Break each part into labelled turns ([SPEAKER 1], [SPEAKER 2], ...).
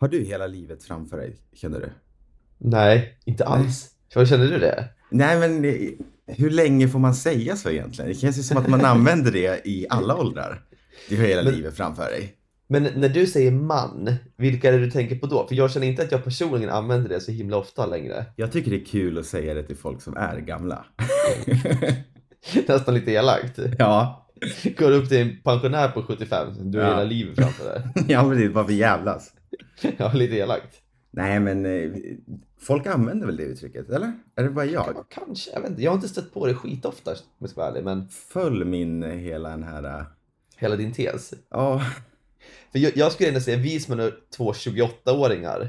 [SPEAKER 1] Har du hela livet framför dig, känner du?
[SPEAKER 2] Nej, inte alls. Vad Känner du det?
[SPEAKER 1] Nej, men eh, hur länge får man säga så egentligen? Det känns ju som att man använder det i alla åldrar. Du har hela
[SPEAKER 2] Men-
[SPEAKER 1] livet framför dig.
[SPEAKER 2] Men när du säger man, vilka är det du tänker på då? För jag känner inte att jag personligen använder det så himla ofta längre.
[SPEAKER 1] Jag tycker det är kul att säga det till folk som är gamla.
[SPEAKER 2] Nästan lite elakt.
[SPEAKER 1] ja,
[SPEAKER 2] Går upp till en pensionär på 75, du har
[SPEAKER 1] Ja.
[SPEAKER 2] hela livet framför dig.
[SPEAKER 1] ja precis. Varför jävlas?
[SPEAKER 2] Ja, lite elakt.
[SPEAKER 1] Nej, men eh, folk använder väl det uttrycket, eller? Är det bara jag?
[SPEAKER 2] Ja, kanske, jag vet inte. Jag har inte stött på det skitofta om jag ska vara ärlig, men
[SPEAKER 1] Följ min eh, hela den här... eh,
[SPEAKER 2] hela din tes.
[SPEAKER 1] Ja.
[SPEAKER 2] För jag, jag skulle ändå säga vi som är nu två 28-åringar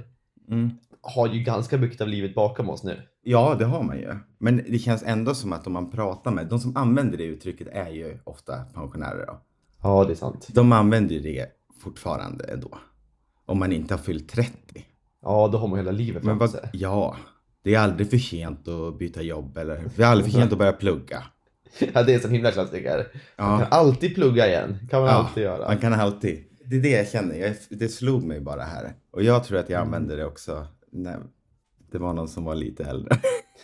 [SPEAKER 1] Mm.
[SPEAKER 2] har ju ganska mycket av livet bakom oss nu.
[SPEAKER 1] Ja, det har man ju. Men det känns ändå som att om man pratar med, de som använder det uttrycket är ju ofta pensionärer. Då.
[SPEAKER 2] Ja, det är sant.
[SPEAKER 1] De använder ju det fortfarande ändå. Om man inte har fyllt 30.
[SPEAKER 2] Ja, då har man hela livet
[SPEAKER 1] Men
[SPEAKER 2] framför
[SPEAKER 1] vad,
[SPEAKER 2] sig.
[SPEAKER 1] ja, det är aldrig för sent att byta jobb eller det är aldrig för sent att börja plugga.
[SPEAKER 2] Ja, det är en sån himla klassiker. Man
[SPEAKER 1] Ja,
[SPEAKER 2] kan alltid plugga igen. kan man
[SPEAKER 1] Ja,
[SPEAKER 2] alltid göra.
[SPEAKER 1] man kan alltid. Det är det jag känner, jag, det slog mig bara här. Och jag tror att jag använde det också när det var någon som var lite äldre.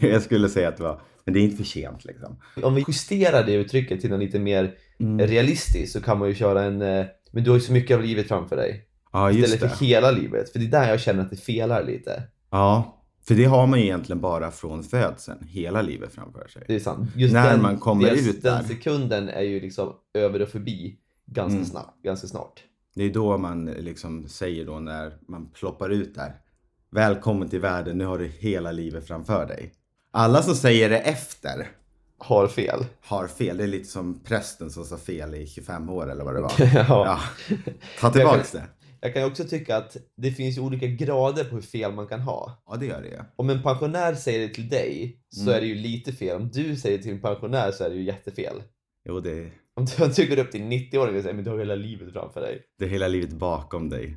[SPEAKER 1] jag skulle säga att det var, men det är inte för sent liksom.
[SPEAKER 2] Om vi justerar det uttrycket till något lite mer
[SPEAKER 1] Mm.
[SPEAKER 2] realistiskt så kan man ju köra en eh, Men du har ju så mycket av livet framför dig.
[SPEAKER 1] Ja, just
[SPEAKER 2] Istället
[SPEAKER 1] det.
[SPEAKER 2] för hela livet. För det är där jag känner att det felar lite.
[SPEAKER 1] Ja, för det har man ju egentligen bara från födseln, hela livet framför sig.
[SPEAKER 2] Det är sant. Just
[SPEAKER 1] När
[SPEAKER 2] den,
[SPEAKER 1] man kommer
[SPEAKER 2] dels
[SPEAKER 1] ut
[SPEAKER 2] Den
[SPEAKER 1] där.
[SPEAKER 2] sekunden är ju liksom över och förbi ganska,
[SPEAKER 1] Mm.
[SPEAKER 2] snabbt, ganska snart.
[SPEAKER 1] Det är då man liksom säger då när man ploppar ut där. Välkommen till världen, nu har du hela livet framför dig. Alla som säger det efter
[SPEAKER 2] Har fel.
[SPEAKER 1] har fel. Det är lite som prästen som sa fel i 25 år eller vad det var.
[SPEAKER 2] ja.
[SPEAKER 1] Ja, ta tillbaks det.
[SPEAKER 2] Jag kan ju också tycka att det finns ju olika grader på hur fel man kan ha.
[SPEAKER 1] Ja, det gör det ju.
[SPEAKER 2] Om en pensionär säger det till dig så
[SPEAKER 1] Mm.
[SPEAKER 2] är det ju lite fel. Om du säger det till en pensionär så är det ju jättefel.
[SPEAKER 1] Jo, det,
[SPEAKER 2] Om du om du går upp till 90-åringen och säger men du har hela livet framför dig.
[SPEAKER 1] det är hela livet bakom dig.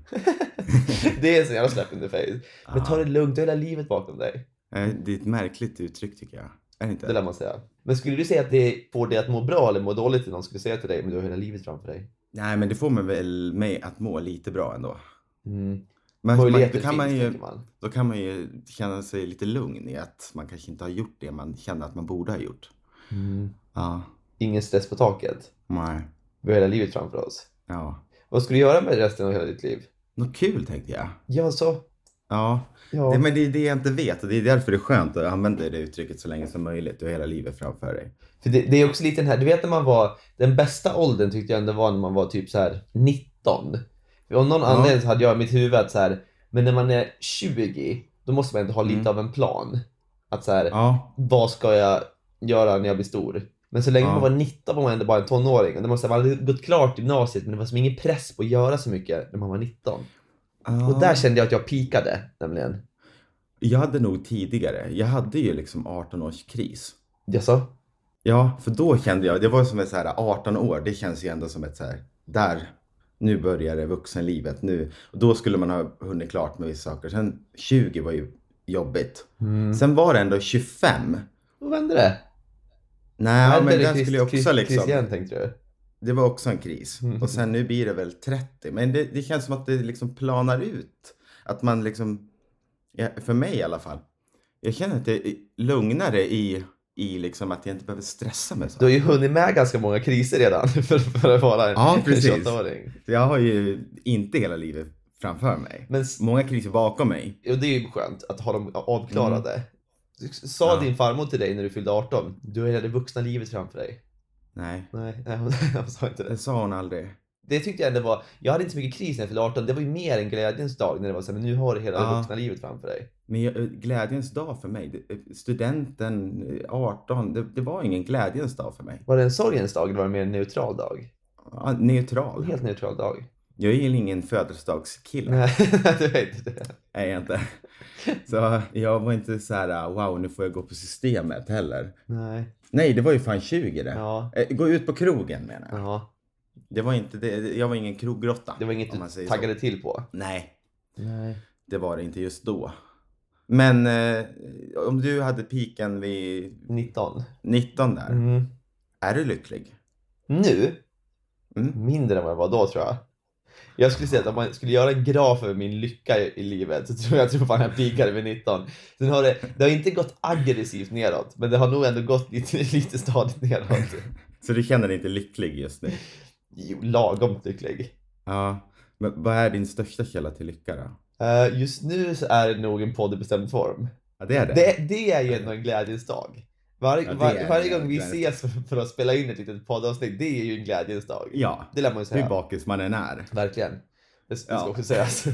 [SPEAKER 2] Det är en sån jävla slap in the face. Men
[SPEAKER 1] Ah.
[SPEAKER 2] ta det lugnt, du har hela livet bakom dig.
[SPEAKER 1] Ja. Eh, Det är ett märkligt uttryck tycker jag. Är det inte?
[SPEAKER 2] Det lär man säga. Men skulle du säga att det får dig att må bra eller må dåligt om någon skulle säga till dig men du har hela livet framför dig?
[SPEAKER 1] Nej, men det får man väl mig att må lite bra ändå.
[SPEAKER 2] Mm.
[SPEAKER 1] Men man,
[SPEAKER 2] Möjligheter
[SPEAKER 1] då, kan
[SPEAKER 2] finns,
[SPEAKER 1] man ju,
[SPEAKER 2] tänker man.
[SPEAKER 1] då kan man ju känna sig lite lugn i att man kanske inte har gjort det man känner att man borde ha gjort.
[SPEAKER 2] Mm.
[SPEAKER 1] Ja,
[SPEAKER 2] Ingen stress på taket.
[SPEAKER 1] nej,
[SPEAKER 2] Vi har hela livet framför oss.
[SPEAKER 1] ja.
[SPEAKER 2] Vad skulle du göra med resten av hela ditt liv?
[SPEAKER 1] Något kul tänkte jag.
[SPEAKER 2] Ja, så.
[SPEAKER 1] Ja,
[SPEAKER 2] Ja.
[SPEAKER 1] Det, men det är det jag inte vet och det är därför det är skönt att använda det uttrycket så länge som möjligt. Du har hela livet framför dig.
[SPEAKER 2] För det, det är också lite den här, du vet när man var, den bästa åldern tyckte jag ändå var när man var typ så här 19. För av någon
[SPEAKER 1] Ja.
[SPEAKER 2] anledning så hade jag i mitt huvud att så här, men när man är 20 då måste man ändå ha lite
[SPEAKER 1] Mm.
[SPEAKER 2] av en plan. Att så här,
[SPEAKER 1] Ja,
[SPEAKER 2] vad ska jag göra när jag blir stor? Men så länge
[SPEAKER 1] Ja.
[SPEAKER 2] man var 19 var man ändå bara en tonåring. Och det måste, man hade gått klart gymnasiet men det var som ingen press på att göra så mycket när man var 19. Och där kände jag att jag pikade nämligen.
[SPEAKER 1] Jag hade nog tidigare, jag hade ju liksom 18 års kris.
[SPEAKER 2] Jag sa,
[SPEAKER 1] Ja, för då kände jag, det var som ett så här 18 år, det känns ju ändå som ett så här, där, nu börjar det vuxenlivet nu. Och då skulle man ha hunnit klart med vissa saker. Sen 20 var ju jobbigt.
[SPEAKER 2] mm.
[SPEAKER 1] Sen var det ändå 25.
[SPEAKER 2] då vände det.
[SPEAKER 1] Nej,
[SPEAKER 2] Vände
[SPEAKER 1] men
[SPEAKER 2] det
[SPEAKER 1] där
[SPEAKER 2] Chris-
[SPEAKER 1] skulle jag
[SPEAKER 2] Chris-
[SPEAKER 1] också liksom,
[SPEAKER 2] Christian tänkte du?
[SPEAKER 1] det var också en kris.
[SPEAKER 2] Mm.
[SPEAKER 1] Och sen nu blir det väl 30. Men det, det känns som att det liksom planar ut. Att man liksom, ja, för mig i alla fall, jag känner att det är lugnare i, i liksom att jag inte behöver stressa med
[SPEAKER 2] Du
[SPEAKER 1] saker.
[SPEAKER 2] har ju hunnit med ganska många kriser redan för, för att vara en
[SPEAKER 1] Ja, precis.
[SPEAKER 2] 28-åring.
[SPEAKER 1] Så Jag har ju inte hela livet framför mig.
[SPEAKER 2] Men s-
[SPEAKER 1] Många kriser bakom mig.
[SPEAKER 2] och det är ju skönt att ha dem avklarade. S- Sa
[SPEAKER 1] Mm. Ja.
[SPEAKER 2] din farmor till dig när du fyllde 18, du har hela det vuxna livet framför dig?
[SPEAKER 1] Nej,
[SPEAKER 2] Nej, nej hon, hon sa inte det.
[SPEAKER 1] det sa hon aldrig.
[SPEAKER 2] Det tyckte jag ändå var, jag hade inte så mycket kris när jag fyllde 18, det var ju mer en glädjens dag när det var så här, men nu har du hela det
[SPEAKER 1] Ja.
[SPEAKER 2] vuxna livet framför dig.
[SPEAKER 1] Men jag, glädjens dag för mig, det- studenten, eh, 18, det, det var ingen glädjens dag för mig.
[SPEAKER 2] Var det en sorgens dag eller var det mer en neutral dag?
[SPEAKER 1] Ja,
[SPEAKER 2] En
[SPEAKER 1] Neutral.
[SPEAKER 2] helt neutral dag.
[SPEAKER 1] Jag är ju ingen födelsedagskille,
[SPEAKER 2] Nej, du vet det.
[SPEAKER 1] är jag inte. Så jag var inte så här, "Ah, wow nu får jag gå på systemet heller.
[SPEAKER 2] Nej.
[SPEAKER 1] Nej, det var ju fan 20 det.
[SPEAKER 2] Ja.
[SPEAKER 1] Eh, Gå ut på krogen menar jag.
[SPEAKER 2] ja.
[SPEAKER 1] Det var inte det, jag var ingen kroggrotta.
[SPEAKER 2] Det var inget
[SPEAKER 1] om man säger
[SPEAKER 2] du
[SPEAKER 1] så.
[SPEAKER 2] taggade till på?
[SPEAKER 1] Nej,
[SPEAKER 2] Nej.
[SPEAKER 1] Det var det inte just då. Men eh, om du hade piken vid
[SPEAKER 2] 19.
[SPEAKER 1] 19 där,
[SPEAKER 2] Mm.
[SPEAKER 1] är du lycklig?
[SPEAKER 2] Nu
[SPEAKER 1] Mm.
[SPEAKER 2] mindre än vad jag var då tror jag. Jag skulle säga att om man skulle göra en graf över min lycka i, i livet så tror jag att jag fan jag peakade vid 19. Sen har det, det har inte gått aggressivt neråt, men det har nog ändå gått lite, lite stadigt neråt.
[SPEAKER 1] Så du känner dig inte lycklig just nu?
[SPEAKER 2] Jo, lagom lycklig.
[SPEAKER 1] Ja. Men vad är din största källa till lycka då?
[SPEAKER 2] Eh, just nu så är det nog en podd i bestämd form.
[SPEAKER 1] Ja, det är det.
[SPEAKER 2] Det, det är ju ändå en glädjens dag. Var,
[SPEAKER 1] Ja, det
[SPEAKER 2] var,
[SPEAKER 1] är
[SPEAKER 2] varje
[SPEAKER 1] en
[SPEAKER 2] gång vi
[SPEAKER 1] glädjens-
[SPEAKER 2] ses för, för att spela in ett litet poddavsnitt, det är ju en glädjens dag.
[SPEAKER 1] Ja,
[SPEAKER 2] Det lär man ju
[SPEAKER 1] hur
[SPEAKER 2] säga.
[SPEAKER 1] bakis man än är.
[SPEAKER 2] Verkligen. Det, det ska
[SPEAKER 1] Ja.
[SPEAKER 2] också sägas.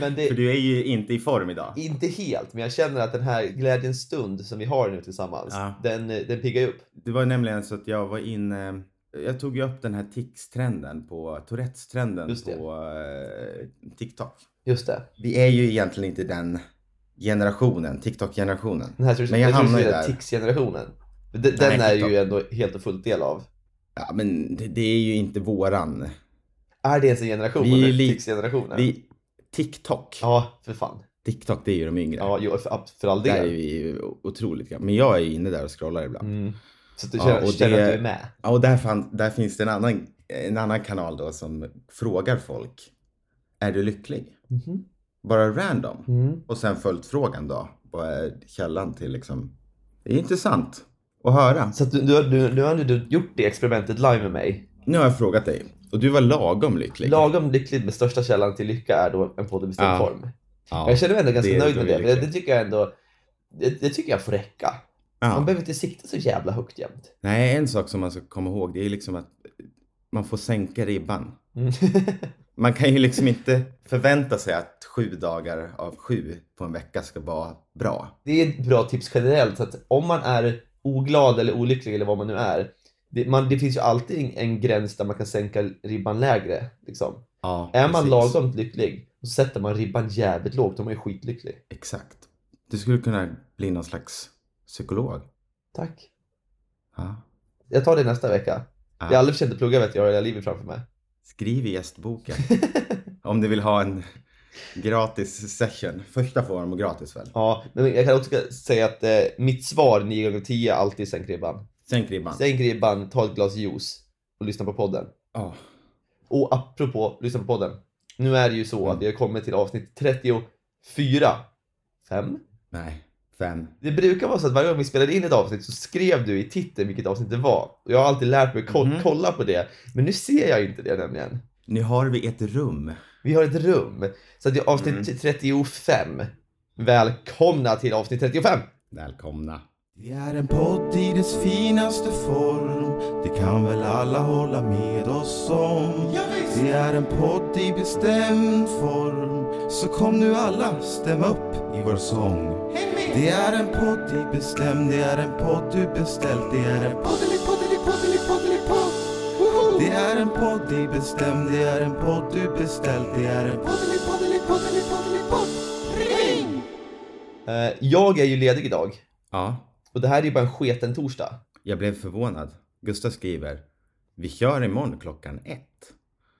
[SPEAKER 2] Men det
[SPEAKER 1] För
[SPEAKER 2] är
[SPEAKER 1] du är ju inte i form idag.
[SPEAKER 2] inte helt, men jag känner att den här glädjens stund som vi har nu tillsammans,
[SPEAKER 1] Ja.
[SPEAKER 2] den, eh, den piggar ju upp.
[SPEAKER 1] Det var nämligen så att jag var inne, jag tog ju upp den här tics-trenden på, Tourettes-trenden
[SPEAKER 2] Just det.
[SPEAKER 1] på eh, TikTok.
[SPEAKER 2] Just det.
[SPEAKER 1] Vi är ju egentligen inte den generationen, TikTok-generationen.
[SPEAKER 2] Den här,
[SPEAKER 1] Men jag hamnar ju där.
[SPEAKER 2] Tix-generationen. Den,
[SPEAKER 1] Nej,
[SPEAKER 2] den är
[SPEAKER 1] TikTok.
[SPEAKER 2] ju ändå helt och fullt del av.
[SPEAKER 1] Ja, men det, det är ju inte våran.
[SPEAKER 2] Är det ens en generation?
[SPEAKER 1] Vi är
[SPEAKER 2] eller?
[SPEAKER 1] li-
[SPEAKER 2] Tix-generationen?
[SPEAKER 1] Vi, TikTok.
[SPEAKER 2] Ja, för fan.
[SPEAKER 1] TikTok, det är ju de yngre.
[SPEAKER 2] Ja, jo, för, för all
[SPEAKER 1] Där är
[SPEAKER 2] del.
[SPEAKER 1] vi ju otroligt gamla. Men jag är ju inne där och scrollar ibland.
[SPEAKER 2] Mm. Så att du
[SPEAKER 1] Ja,
[SPEAKER 2] känner,
[SPEAKER 1] och
[SPEAKER 2] känner
[SPEAKER 1] det-
[SPEAKER 2] att du är med.
[SPEAKER 1] Ja, och där, fan, där finns det en annan, en annan kanal då som frågar folk. Är du lycklig?
[SPEAKER 2] Mhm.
[SPEAKER 1] Bara random.
[SPEAKER 2] Mm.
[SPEAKER 1] Och sen följt frågan då. Vad är källan till liksom? Det är intressant att höra.
[SPEAKER 2] Så att du, du, du, nu har du gjort det experimentet live med mig.
[SPEAKER 1] Nu har jag frågat dig och du var lagom lycklig.
[SPEAKER 2] Lagom lyckligt med största källan till lycka är då en podd i bestämd
[SPEAKER 1] Ja.
[SPEAKER 2] form.
[SPEAKER 1] ja.
[SPEAKER 2] Jag känner mig ändå ganska
[SPEAKER 1] det är
[SPEAKER 2] nöjd
[SPEAKER 1] då
[SPEAKER 2] med
[SPEAKER 1] vi är
[SPEAKER 2] det. men Det
[SPEAKER 1] lyckliga.
[SPEAKER 2] tycker jag ändå, det, det tycker jag får räcka. Man
[SPEAKER 1] Ja.
[SPEAKER 2] behöver inte sikta så jävla högt jämt.
[SPEAKER 1] Nej, en sak som man ska komma ihåg det är liksom att man får sänka ribban.
[SPEAKER 2] Mm.
[SPEAKER 1] Man kan ju liksom inte förvänta sig att sju dagar av sju på en vecka ska vara bra.
[SPEAKER 2] det är ett bra tips generellt. Så att om man är oglad eller olycklig eller vad man nu är. Det, man, det finns ju alltid en, en gräns där man kan sänka ribban lägre. Liksom.
[SPEAKER 1] Ja,
[SPEAKER 2] Är man
[SPEAKER 1] precis.
[SPEAKER 2] lagom lycklig så sätter man ribban jävligt lågt. Då är man ju skitlycklig.
[SPEAKER 1] Exakt. Du skulle kunna bli någon slags psykolog.
[SPEAKER 2] Tack.
[SPEAKER 1] Ja.
[SPEAKER 2] Jag tar det nästa vecka.
[SPEAKER 1] Ja.
[SPEAKER 2] Jag har aldrig försökt plugga vet jag, jag har hela livet framför mig.
[SPEAKER 1] Skriv i gästboken om du vill ha en gratis session. Första får de gratis väl?
[SPEAKER 2] Ja, men jag kan också säga att eh, mitt svar 9 gånger 10 är alltid sänk ribban.
[SPEAKER 1] Sänk ribban.
[SPEAKER 2] Sänk ribban, ta ett glas juice och lyssna på podden.
[SPEAKER 1] Ja.
[SPEAKER 2] Och apropå lyssna på podden. Nu är det ju
[SPEAKER 1] Mm.
[SPEAKER 2] så att vi har kommit till avsnitt 34. Fem?
[SPEAKER 1] Nej, fem.
[SPEAKER 2] Det brukar vara så att varje gång vi spelade in ett avsnitt så skrev du i titeln vilket avsnitt det var. Och jag har alltid lärt mig ko-
[SPEAKER 1] Mhm.
[SPEAKER 2] kolla på det. Men nu ser jag inte det nämligen.
[SPEAKER 1] Nu har vi ett rum.
[SPEAKER 2] Vi har ett rum. Så att det är avsnitt
[SPEAKER 1] Mm.
[SPEAKER 2] 35. Välkomna till avsnitt 35!
[SPEAKER 1] Välkomna. Det är en podd i dess finaste form. Det kan väl alla hålla med oss om. Det är en podd i bestämd form. Så kom nu alla, stäm upp i vår sång. Det är en podd i bestämd, det är en podd du beställt. Det är en Det är en podd i bestämd, det är en podd du beställt. Det är en
[SPEAKER 2] Eh, jag är ju ledig idag.
[SPEAKER 1] Ja,
[SPEAKER 2] Och det här är ju bara en sketen torsdag.
[SPEAKER 1] Jag blev förvånad. Gustav skriver. Vi kör imorgon klockan ett.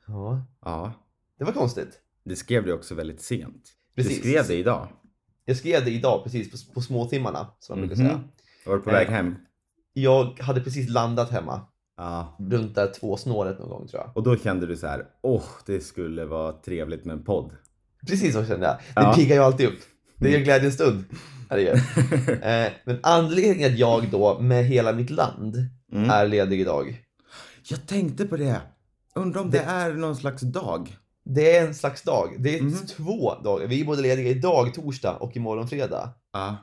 [SPEAKER 2] Ja.
[SPEAKER 1] Ja,
[SPEAKER 2] Det var konstigt.
[SPEAKER 1] det skrev du också väldigt sent.
[SPEAKER 2] Precis.
[SPEAKER 1] Du skrev det idag.
[SPEAKER 2] Jag skrev det idag precis på, på småtimmarna som man brukar
[SPEAKER 1] Mhm.
[SPEAKER 2] säga.
[SPEAKER 1] Var du på
[SPEAKER 2] Nej.
[SPEAKER 1] väg hem?
[SPEAKER 2] Jag hade precis landat hemma.
[SPEAKER 1] Ja.
[SPEAKER 2] Runt där två snåret någon gång tror jag.
[SPEAKER 1] Och då kände du så här. Åh, det skulle vara trevligt med en podd.
[SPEAKER 2] Precis så kände jag. Det
[SPEAKER 1] Ja. Mm.
[SPEAKER 2] piggar ju alltid upp. Det är ju en glädjens stund. Ja, det gör det. Eh, Men anledningen att jag då med hela mitt land
[SPEAKER 1] Mm.
[SPEAKER 2] är ledig idag.
[SPEAKER 1] Jag tänkte på det. Undrar om det...
[SPEAKER 2] Det-
[SPEAKER 1] är någon slags dag.
[SPEAKER 2] Det är en slags dag. Det är
[SPEAKER 1] Mhm.
[SPEAKER 2] två dagar. Vi är både lediga idag, torsdag och imorgon fredag.
[SPEAKER 1] Ja.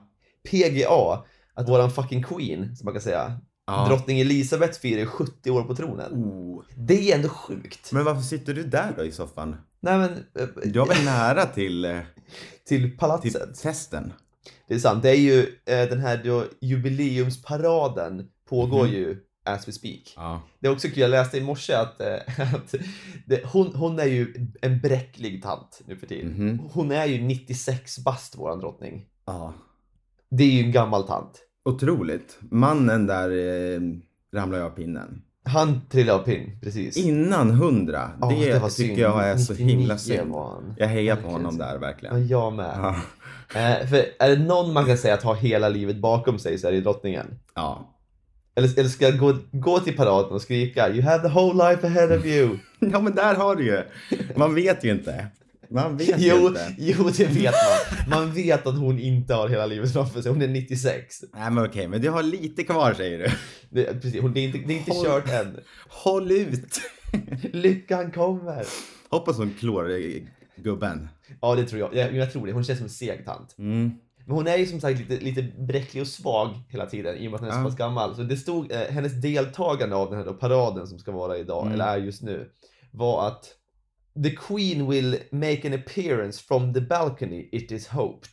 [SPEAKER 2] PGA, att våran fucking queen, som man kan säga,
[SPEAKER 1] ja.
[SPEAKER 2] drottning Elisabeth firar 70 år på tronen.
[SPEAKER 1] Oh.
[SPEAKER 2] Det är ändå sjukt.
[SPEAKER 1] Men varför sitter du där då i soffan?
[SPEAKER 2] Nej men, eh,
[SPEAKER 1] Jag var nära till, eh,
[SPEAKER 2] till
[SPEAKER 1] till
[SPEAKER 2] palatset.
[SPEAKER 1] festen.
[SPEAKER 2] Det är sant. Det är ju eh, den här då, jubileumsparaden pågår
[SPEAKER 1] Mhm.
[SPEAKER 2] ju as we speak.
[SPEAKER 1] Ja.
[SPEAKER 2] Det är också kul, jag läste i morse att, eh, att det, hon, hon är ju en bräcklig tant nu för tiden.
[SPEAKER 1] Mhm.
[SPEAKER 2] Hon är ju 96 bast, våran drottning.
[SPEAKER 1] Ja.
[SPEAKER 2] Det är ju en gammal tant.
[SPEAKER 1] Otroligt. Mannen där eh, ramlade jag av pinnen.
[SPEAKER 2] Han trillade av pinn, precis.
[SPEAKER 1] Innan 100.
[SPEAKER 2] Ja,
[SPEAKER 1] det tycker
[SPEAKER 2] var synd.
[SPEAKER 1] jag är så himla
[SPEAKER 2] 99
[SPEAKER 1] synd.
[SPEAKER 2] var han.
[SPEAKER 1] Jag hejar på
[SPEAKER 2] Verkligen
[SPEAKER 1] honom
[SPEAKER 2] synd.
[SPEAKER 1] där
[SPEAKER 2] Ja,
[SPEAKER 1] verkligen.
[SPEAKER 2] jag med.
[SPEAKER 1] Ja.
[SPEAKER 2] Eh, för är det någon man kan säga att har hela livet bakom sig så är det drottningen.
[SPEAKER 1] ja.
[SPEAKER 2] Eller, eller ska jag gå, gå till paraden och skrika You have the whole life ahead of you.
[SPEAKER 1] Ja men där har du ju. Man vet ju inte. Man vet ju
[SPEAKER 2] Jo,
[SPEAKER 1] inte.
[SPEAKER 2] jo, det vet man. Man vet att hon inte har hela livet framför sig. Hon är 96.
[SPEAKER 1] Nej men okej, men du har lite kvar säger du.
[SPEAKER 2] Det, precis, hon, det, är inte, det är inte
[SPEAKER 1] Håll-
[SPEAKER 2] kört än.
[SPEAKER 1] Håll ut.
[SPEAKER 2] Lyckan kommer.
[SPEAKER 1] Hoppas hon klorar i gubben.
[SPEAKER 2] Ja, det tror jag. Jag, jag tror det. Hon känns som en seg tant.
[SPEAKER 1] Mm.
[SPEAKER 2] Men hon är ju som sagt lite, lite bräcklig och svag hela tiden i och med att hon är
[SPEAKER 1] Ja.
[SPEAKER 2] så pass gammal. Så det stod, eh, hennes deltagande av den här då paraden som ska vara idag,
[SPEAKER 1] Mm.
[SPEAKER 2] eller är just nu, var att The Queen will make an appearance from the balcony, it is hoped.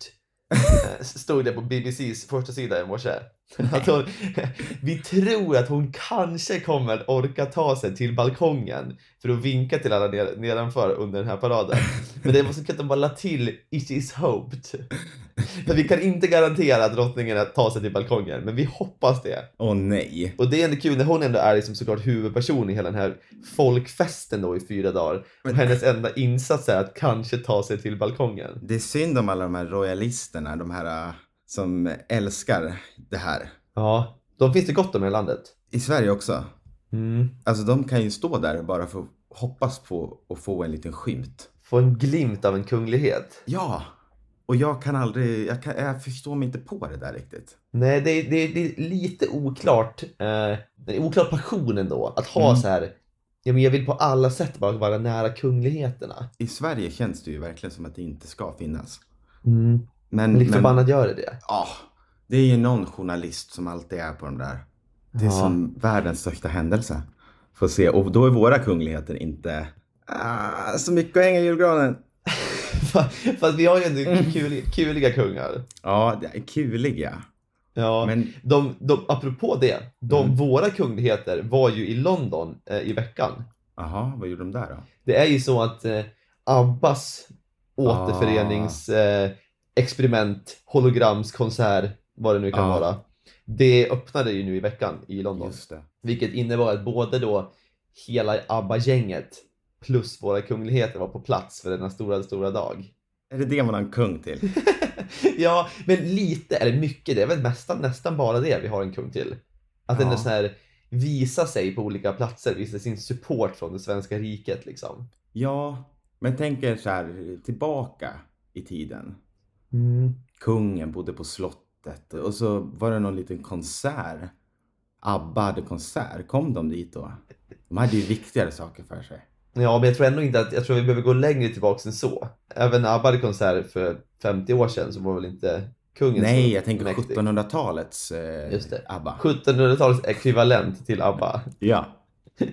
[SPEAKER 2] Eh, Stod det på BBCs första sida i morse. Att hon, vi tror att hon kanske kommer att orka ta sig till balkongen för att vinka till alla ner, nedanför under den här paraden. Men det var så kul att de bara la till It is hoped. För vi kan inte garantera att drottningen att ta sig till balkongen, men vi hoppas det.
[SPEAKER 1] Åh nej.
[SPEAKER 2] Och det är ändå kul när hon ändå är liksom såklart huvudperson i hela den här folkfesten då i fyra dagar. Och
[SPEAKER 1] Men-
[SPEAKER 2] hennes enda insats är att kanske ta sig till balkongen.
[SPEAKER 1] Det är synd om alla de här royalisterna, de här äh, som älskar det här.
[SPEAKER 2] Ja, de finns det gott om i det här landet.
[SPEAKER 1] I Sverige också.
[SPEAKER 2] Mm.
[SPEAKER 1] Alltså de kan ju stå där bara för att hoppas på att få en liten skymt.
[SPEAKER 2] Få en glimt av en kunglighet.
[SPEAKER 1] Ja! Och jag kan aldrig, jag, kan, jag förstår mig inte på det där riktigt.
[SPEAKER 2] Nej, det, är- det, är- det är lite oklart. Eh, det är oklar passion ändå. Att ha
[SPEAKER 1] Mm.
[SPEAKER 2] så här, ja men jag vill på alla sätt bara vara nära kungligheterna.
[SPEAKER 1] I Sverige känns det ju verkligen som att det inte ska finnas.
[SPEAKER 2] Mm.
[SPEAKER 1] Men,
[SPEAKER 2] Lik
[SPEAKER 1] men
[SPEAKER 2] förbannat gör det det.
[SPEAKER 1] ja, det är ju någon journalist som alltid är på de där. Det är
[SPEAKER 2] Ja.
[SPEAKER 1] som världens största händelse. Får se, och då är våra kungligheter inte ah, så mycket att hänga i julgranen.
[SPEAKER 2] Fast vi har ju
[SPEAKER 1] Mm.
[SPEAKER 2] ändå kul, kuliga kungar.
[SPEAKER 1] Ja, det är kulig ja.
[SPEAKER 2] Ja.
[SPEAKER 1] Men
[SPEAKER 2] De, de, apropå det, de,
[SPEAKER 1] Mm.
[SPEAKER 2] våra kungligheter var ju i London eh, i veckan.
[SPEAKER 1] jaha, vad gjorde de där då?
[SPEAKER 2] Det är ju så att eh, Abbas
[SPEAKER 1] Ah.
[SPEAKER 2] återföreningsexperiment, eh, experiment, hologramskonsert, vad det nu kan
[SPEAKER 1] Ah.
[SPEAKER 2] vara. Det öppnade ju nu i veckan i London.
[SPEAKER 1] Just det.
[SPEAKER 2] Vilket innebar att både då hela ABBA-gänget plus våra kungligheter var på plats för denna stora, stora dag.
[SPEAKER 1] Är det det man har en kung till?
[SPEAKER 2] ja, men lite eller mycket, det är väl nästan, nästan bara det vi har en kung till. Att den
[SPEAKER 1] Ja.
[SPEAKER 2] är så här visa sig på olika platser, visa sin support från det svenska riket liksom.
[SPEAKER 1] Ja, men tänk er så här tillbaka i tiden. Mm. Kungen bodde på slottet och så var det någon liten konsert. ABBA hade konsert. Kom de dit då? De hade ju viktigare saker för sig.
[SPEAKER 2] Ja, men jag tror ändå inte att, jag tror vi behöver gå längre tillbaks än så. Även när ABBA hade konsert för 50 år sedan så var väl inte kungen
[SPEAKER 1] Nej,
[SPEAKER 2] så
[SPEAKER 1] jag tänker
[SPEAKER 2] mäktig.
[SPEAKER 1] 1700-talets eh,
[SPEAKER 2] Just det.
[SPEAKER 1] ABBA.
[SPEAKER 2] 1700-talets ekvivalent till ABBA.
[SPEAKER 1] Ja.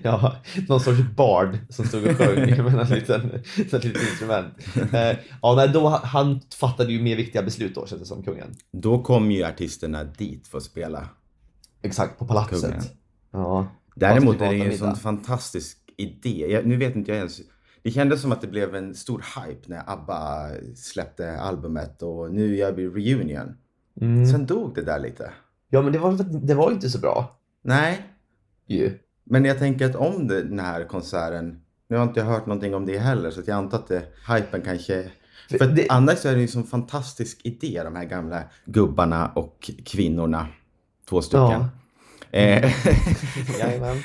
[SPEAKER 2] Ja, någon sorts bard som stod och sjöng med en liten, ett litet instrument. Eh, ja, nej, då, han fattade ju mer viktiga beslut då, känns det som, kungen.
[SPEAKER 1] Då kom ju artisterna dit för att spela.
[SPEAKER 2] Exakt, på palatset.
[SPEAKER 1] Kungen.
[SPEAKER 2] Ja.
[SPEAKER 1] Däremot
[SPEAKER 2] Fast
[SPEAKER 1] är det ju en
[SPEAKER 2] privatamiddag.
[SPEAKER 1] sån fantastisk idé. Jag, nu vet inte jag ens. Det kändes som att det blev en stor hype när ABBA släppte albumet och nu gör vi reunion.
[SPEAKER 2] Mm.
[SPEAKER 1] Sen dog det där lite.
[SPEAKER 2] ja, men det var, det var ju inte så bra
[SPEAKER 1] Nej,
[SPEAKER 2] ju.
[SPEAKER 1] men jag tänker att om det, den här konserten, nu har inte jag hört någonting om det heller så att jag antar att det, hypen kanske...
[SPEAKER 2] För
[SPEAKER 1] För att
[SPEAKER 2] det-
[SPEAKER 1] annars så är det ju en sån fantastisk idé de här gamla gubbarna och kvinnorna. Två stycken.
[SPEAKER 2] Ja.
[SPEAKER 1] Eh,
[SPEAKER 2] Jajamän.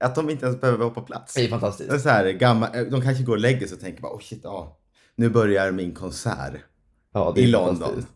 [SPEAKER 1] att de inte ens behöver vara på plats.
[SPEAKER 2] Det är
[SPEAKER 1] Det är
[SPEAKER 2] fantastiskt.
[SPEAKER 1] så här, gammal, de kanske går och lägger sig och tänker bara oh shit, ja, nu börjar min konsert
[SPEAKER 2] Ja, det är
[SPEAKER 1] i London.
[SPEAKER 2] fantastiskt.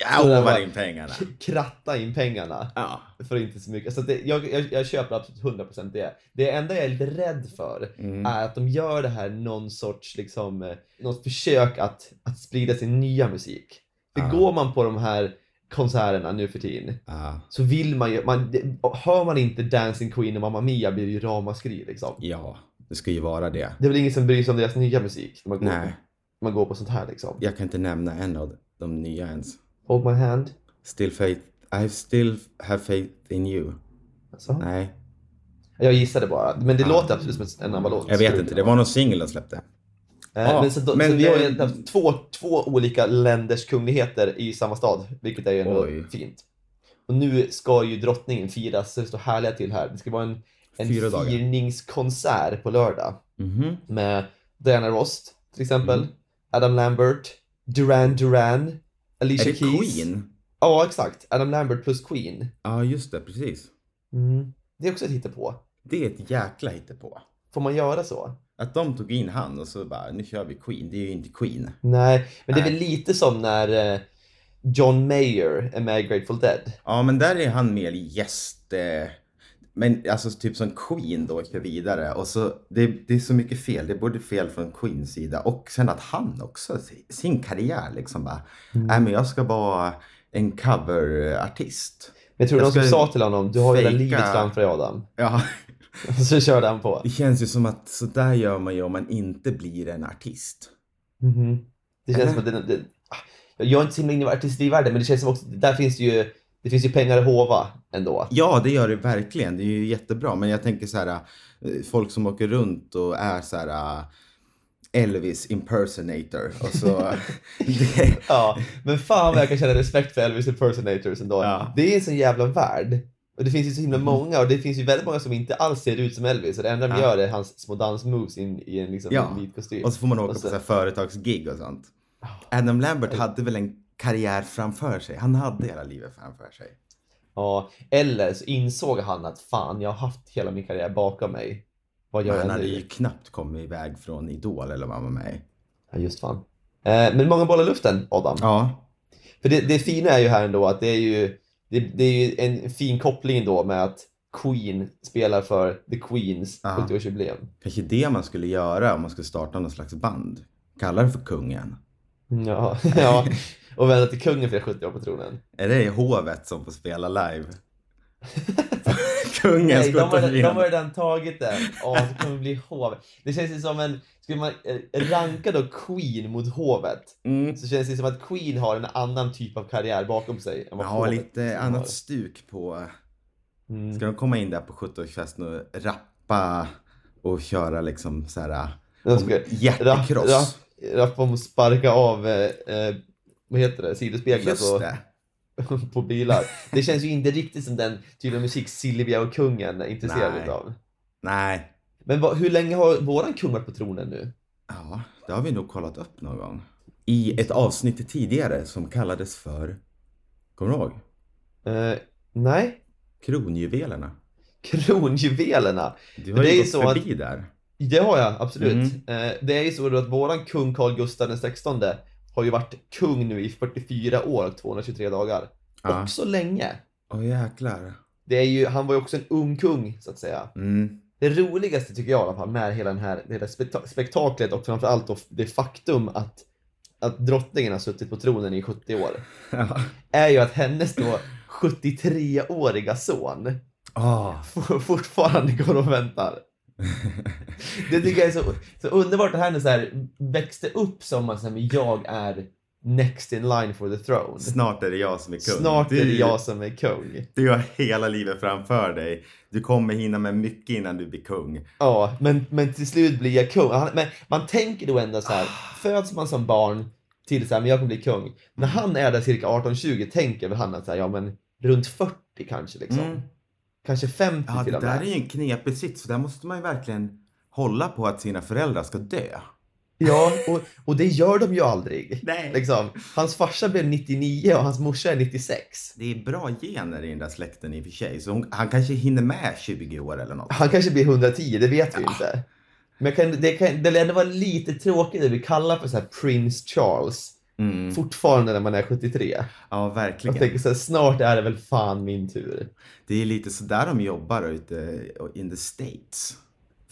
[SPEAKER 1] Jag
[SPEAKER 2] Så där
[SPEAKER 1] hovar
[SPEAKER 2] bara-
[SPEAKER 1] in pengarna.
[SPEAKER 2] Kratta in pengarna
[SPEAKER 1] Ja.
[SPEAKER 2] för inte så mycket. Så att det, jag, jag, jag köper absolut 100% det. Det enda jag är lite rädd för
[SPEAKER 1] Mm.
[SPEAKER 2] är att de gör det här någon sorts liksom, eh, något försök att, att sprida sin nya musik. För
[SPEAKER 1] Ah.
[SPEAKER 2] går man på de här konserterna nu för tiden
[SPEAKER 1] Ja.
[SPEAKER 2] så vill man ju, man, det, hör man inte Dancing Queen och Mamma Mia blir det ju ramaskri liksom.
[SPEAKER 1] ja, det ska ju vara det.
[SPEAKER 2] Det är väl ingen som bryr sig om deras nya musik när man går,
[SPEAKER 1] Nej,
[SPEAKER 2] man går på sånt här liksom.
[SPEAKER 1] jag kan inte nämna en av de nya ens.
[SPEAKER 2] Hold my hand.
[SPEAKER 1] Still faith, I still have faith in you.
[SPEAKER 2] Alltså.
[SPEAKER 1] Nej,
[SPEAKER 2] Jag gissade bara, men det
[SPEAKER 1] Ah.
[SPEAKER 2] låter absolut som en analog.
[SPEAKER 1] jag vet inte. Det var någon singel de släppte.
[SPEAKER 2] Eh,
[SPEAKER 1] Ja,
[SPEAKER 2] men så, då,
[SPEAKER 1] men
[SPEAKER 2] så vi har ju
[SPEAKER 1] det-
[SPEAKER 2] egentligen haft två, två olika länders kungligheter i samma stad, vilket är ju ändå
[SPEAKER 1] Oj.
[SPEAKER 2] fint. Och nu ska ju drottningen firas, så det står härliga till här. Det ska vara en, en
[SPEAKER 1] Fyra dagar.
[SPEAKER 2] firningskonsert på lördag
[SPEAKER 1] Mhm.
[SPEAKER 2] med Diana Ross till exempel,
[SPEAKER 1] Mm.
[SPEAKER 2] Adam Lambert, Duran Duran, Alicia
[SPEAKER 1] Är det
[SPEAKER 2] Keys.
[SPEAKER 1] Queen?
[SPEAKER 2] Ja, exakt. Adam Lambert plus Queen.
[SPEAKER 1] Ja, just det. Precis.
[SPEAKER 2] Mm. Det är också ett på.
[SPEAKER 1] Det är ett jäkla hittepå.
[SPEAKER 2] Får man göra så?
[SPEAKER 1] Att de tog in han och så bara, nu kör vi Queen. Det är ju inte Queen.
[SPEAKER 2] Nej, men det är
[SPEAKER 1] Nej.
[SPEAKER 2] väl lite som när eh, John Mayer är med i Grateful Dead.
[SPEAKER 1] Ja, men där är han mer gäst. Eh, men alltså typ som Queen då åkte vidare och så det, det är så mycket fel. Det är både fel från Queens sida och sen att han också si- sin karriär liksom bara. Nej, men jag ska vara en coverartist.
[SPEAKER 2] Men jag tror
[SPEAKER 1] Jag
[SPEAKER 2] de som
[SPEAKER 1] ska
[SPEAKER 2] sa till honom, du har ju hela
[SPEAKER 1] fejka-
[SPEAKER 2] livet framför dig Adam.
[SPEAKER 1] Ja,
[SPEAKER 2] Så körde han på.
[SPEAKER 1] det känns ju som att så där gör man ju om man inte blir en artist.
[SPEAKER 2] Mhm. Det känns
[SPEAKER 1] Eller?
[SPEAKER 2] som att det, det, ah, jag är inte så himla inne i artistivärlden, men det känns som också, där finns det ju, det finns ju pengar att hova ändå.
[SPEAKER 1] Ja, det gör det verkligen. Det är ju jättebra. Men jag tänker så här, eh, folk som åker runt och är så här eh, Elvis impersonator och så. det,
[SPEAKER 2] Ja, men fan vad jag kan känna respekt för Elvis impersonators ändå.
[SPEAKER 1] Ja.
[SPEAKER 2] Det är en sån jävla värld. Och det finns ju så himla
[SPEAKER 1] Mhm.
[SPEAKER 2] många och det finns ju väldigt många som inte alls ser ut som Elvis. Och det enda de
[SPEAKER 1] Ja.
[SPEAKER 2] gör är hans små dansmoves in i en liksom
[SPEAKER 1] Ja.
[SPEAKER 2] vit kostym.
[SPEAKER 1] Och så får man åka
[SPEAKER 2] Och
[SPEAKER 1] på
[SPEAKER 2] sen-
[SPEAKER 1] så här företagsgig och sånt.
[SPEAKER 2] Ah.
[SPEAKER 1] Adam Lambert hade väl en karriär framför sig. Han hade hela livet framför sig.
[SPEAKER 2] Ja, eller så insåg han att fan, jag har haft hela min karriär bakom mig. Vad gör
[SPEAKER 1] han
[SPEAKER 2] jag
[SPEAKER 1] hade
[SPEAKER 2] nu?
[SPEAKER 1] ju knappt kommit iväg från Idol eller vad han var med i.
[SPEAKER 2] Ja, just fan. Eh, men många bollar i luften, Adam.
[SPEAKER 1] Ja,
[SPEAKER 2] För det, det fina är ju här ändå att det är ju, det, det är ju en fin koppling då med att Queen spelar för The Queens
[SPEAKER 1] Ja.
[SPEAKER 2] 70-årsjubileum.
[SPEAKER 1] kanske det man skulle göra om man skulle starta någon slags band. Kalla det för Kungen.
[SPEAKER 2] Ja, ja. Och vända till kungen för det 70 år på tronen.
[SPEAKER 1] Är det hovet som får spela live? Kungens
[SPEAKER 2] Nej, de har, de har
[SPEAKER 1] 17
[SPEAKER 2] redan tagit den. Ja, det kommer bli hov. Det känns ju som en... Skulle man eh, ranka då Queen mot hovet
[SPEAKER 1] mm.
[SPEAKER 2] så känns det som att Queen har en annan typ av karriär bakom sig än vad
[SPEAKER 1] Ja,
[SPEAKER 2] hovet
[SPEAKER 1] lite
[SPEAKER 2] har.
[SPEAKER 1] annat stuk på...
[SPEAKER 2] Mm.
[SPEAKER 1] Ska de komma in där på 70-årsfesten och rappa och köra liksom så här...
[SPEAKER 2] Jag ska-
[SPEAKER 1] Hjärtekross.
[SPEAKER 2] Rapp, rapp om att sparka av, eh, eh, vad heter det, sidospeglar
[SPEAKER 1] Just
[SPEAKER 2] på,
[SPEAKER 1] det.
[SPEAKER 2] på bilar. Det känns ju inte riktigt som den typen av musik Silvia och kungen är
[SPEAKER 1] Nej.
[SPEAKER 2] intresserade av.
[SPEAKER 1] Nej.
[SPEAKER 2] Men vad, hur länge har våran kung varit på tronen nu?
[SPEAKER 1] Ja, det har vi nog kollat upp någon gång. I ett avsnitt tidigare som kallades för... Kommer du ihåg?
[SPEAKER 2] Eh, nej,
[SPEAKER 1] Kronjuvelerna.
[SPEAKER 2] kronjuvelerna.
[SPEAKER 1] Du har
[SPEAKER 2] Det är
[SPEAKER 1] ju
[SPEAKER 2] ju
[SPEAKER 1] gått
[SPEAKER 2] så att-
[SPEAKER 1] förbi där.
[SPEAKER 2] Det har jag, absolut.
[SPEAKER 1] Mm.
[SPEAKER 2] Eh, det är ju så då att våran kung Carl Gustaf den 16 har ju varit kung nu i 44 år och 223 dagar.
[SPEAKER 1] Ja.
[SPEAKER 2] Också länge.
[SPEAKER 1] Åh jäklar.
[SPEAKER 2] Det är ju, han var ju också en ung kung, så att säga.
[SPEAKER 1] Mm.
[SPEAKER 2] Det roligaste tycker jag i alla fall med hela den här, det här spekta- spektaklet och framförallt då det faktum att, att drottningen har suttit på tronen i 70 år
[SPEAKER 1] Ja.
[SPEAKER 2] är ju att hennes då 73-åriga son
[SPEAKER 1] Ah.
[SPEAKER 2] for- fortfarande går och väntar. Det tycker jag är så, så underbart att henne så här växte upp som att så här, men jag är next in line for the throne.
[SPEAKER 1] Snart är det jag som är kung.
[SPEAKER 2] Snart är det
[SPEAKER 1] Du-
[SPEAKER 2] jag som är kung.
[SPEAKER 1] Du har hela livet framför dig. Du kommer hinna med mycket innan du blir kung.
[SPEAKER 2] Ja, men, men till slut blir jag kung. Han, men man tänker då ändå så här,
[SPEAKER 1] Ah.
[SPEAKER 2] föds man som barn till så här, men jag kommer bli kung. När han är där cirka 18-20 tänker väl han att så här, ja men runt 40 kanske liksom.
[SPEAKER 1] Mm.
[SPEAKER 2] Kanske 50
[SPEAKER 1] Ja,
[SPEAKER 2] till
[SPEAKER 1] det
[SPEAKER 2] och
[SPEAKER 1] där
[SPEAKER 2] med.
[SPEAKER 1] är ju en knepig sits. För där måste man ju verkligen hålla på att sina föräldrar ska dö.
[SPEAKER 2] Ja, och, och det gör de ju aldrig.
[SPEAKER 1] Nej.
[SPEAKER 2] Liksom, hans farsa blev 99 och hans morsa är 96.
[SPEAKER 1] Det är bra gener i den där släkten i och för sig. Så hon, han kanske hinner med 20 år eller något.
[SPEAKER 2] Han kanske blir 110, det vet vi inte. Men jag kan, det, kan, det lär ändå vara lite tråkigt det vi kallar för så här Prince Charles.
[SPEAKER 1] Mm.
[SPEAKER 2] Fortfarande när man är 73.
[SPEAKER 1] Ja,
[SPEAKER 2] Jag
[SPEAKER 1] verkligen.
[SPEAKER 2] tänker så här, snart är det väl fan min tur.
[SPEAKER 1] Det är lite sådär de jobbar ute in the States.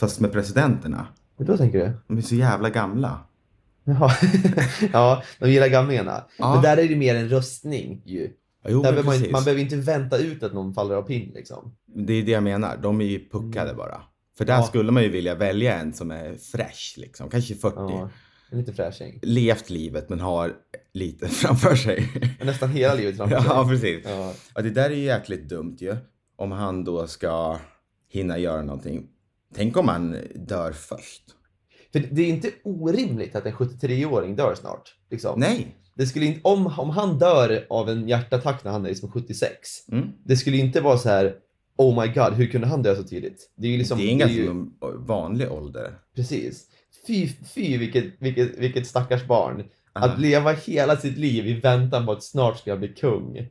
[SPEAKER 1] Fast med presidenterna.
[SPEAKER 2] Men då tänker du?
[SPEAKER 1] De är så jävla gamla.
[SPEAKER 2] Jaha. ja, de gillar gamlingarna.
[SPEAKER 1] Ja.
[SPEAKER 2] Men där är det mer en röstning ju.
[SPEAKER 1] Jo,
[SPEAKER 2] där
[SPEAKER 1] men
[SPEAKER 2] behöver man, inte-
[SPEAKER 1] precis.
[SPEAKER 2] man behöver inte vänta ut att någon faller av pinn liksom.
[SPEAKER 1] Det är det jag menar. De är ju puckade bara. För där
[SPEAKER 2] Mm. Ja.
[SPEAKER 1] skulle man ju vilja välja en som är fräsch liksom. Kanske 40.
[SPEAKER 2] Ja. En lite fräsching.
[SPEAKER 1] Levt livet men har lite framför sig.
[SPEAKER 2] Nästan hela livet framför sig.
[SPEAKER 1] ja, precis.
[SPEAKER 2] Ja.
[SPEAKER 1] Ja, det där är ju jäkligt dumt ju. Om han då ska hinna göra någonting. Tänk om han dör först.
[SPEAKER 2] För det är inte orimligt att en 73-åring dör snart. Liksom.
[SPEAKER 1] Nej.
[SPEAKER 2] Det skulle inte, om, om han dör av en hjärtattack när han är liksom 76,
[SPEAKER 1] Mm.
[SPEAKER 2] det skulle inte vara så här Oh my god, hur kunde han dö så tidigt? Det är ju liksom...
[SPEAKER 1] det är en
[SPEAKER 2] det är
[SPEAKER 1] ganska
[SPEAKER 2] ju-
[SPEAKER 1] vanlig ålder.
[SPEAKER 2] Precis. Fy, fy vilket, vilket, vilket stackars barn.
[SPEAKER 1] Aha.
[SPEAKER 2] Att leva hela sitt liv i väntan på att snart ska jag bli kung.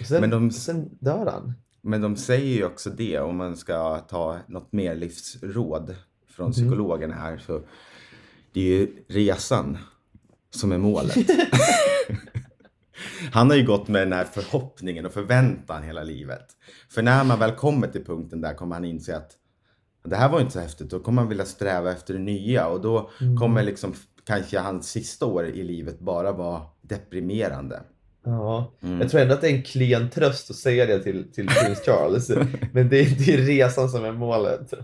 [SPEAKER 2] Och sen,
[SPEAKER 1] Men de-
[SPEAKER 2] sen dör han.
[SPEAKER 1] Men de säger ju också det om man ska ta något mer livsråd
[SPEAKER 2] Mhm.
[SPEAKER 1] från psykologen här så det är ju resan som är målet. Han har ju gått med den här förhoppningen och förväntan hela livet. För när man väl kommer till punkten där kommer han inse att det här var inte så häftigt. Då kommer han vilja sträva efter det nya och då
[SPEAKER 2] Mm.
[SPEAKER 1] kommer liksom kanske hans sista år i livet bara vara deprimerande.
[SPEAKER 2] Ja.
[SPEAKER 1] Mm.
[SPEAKER 2] Jag tror ändå att det är en klen tröst att säga det till, till prins Charles. Men det är, det är resan som är målet.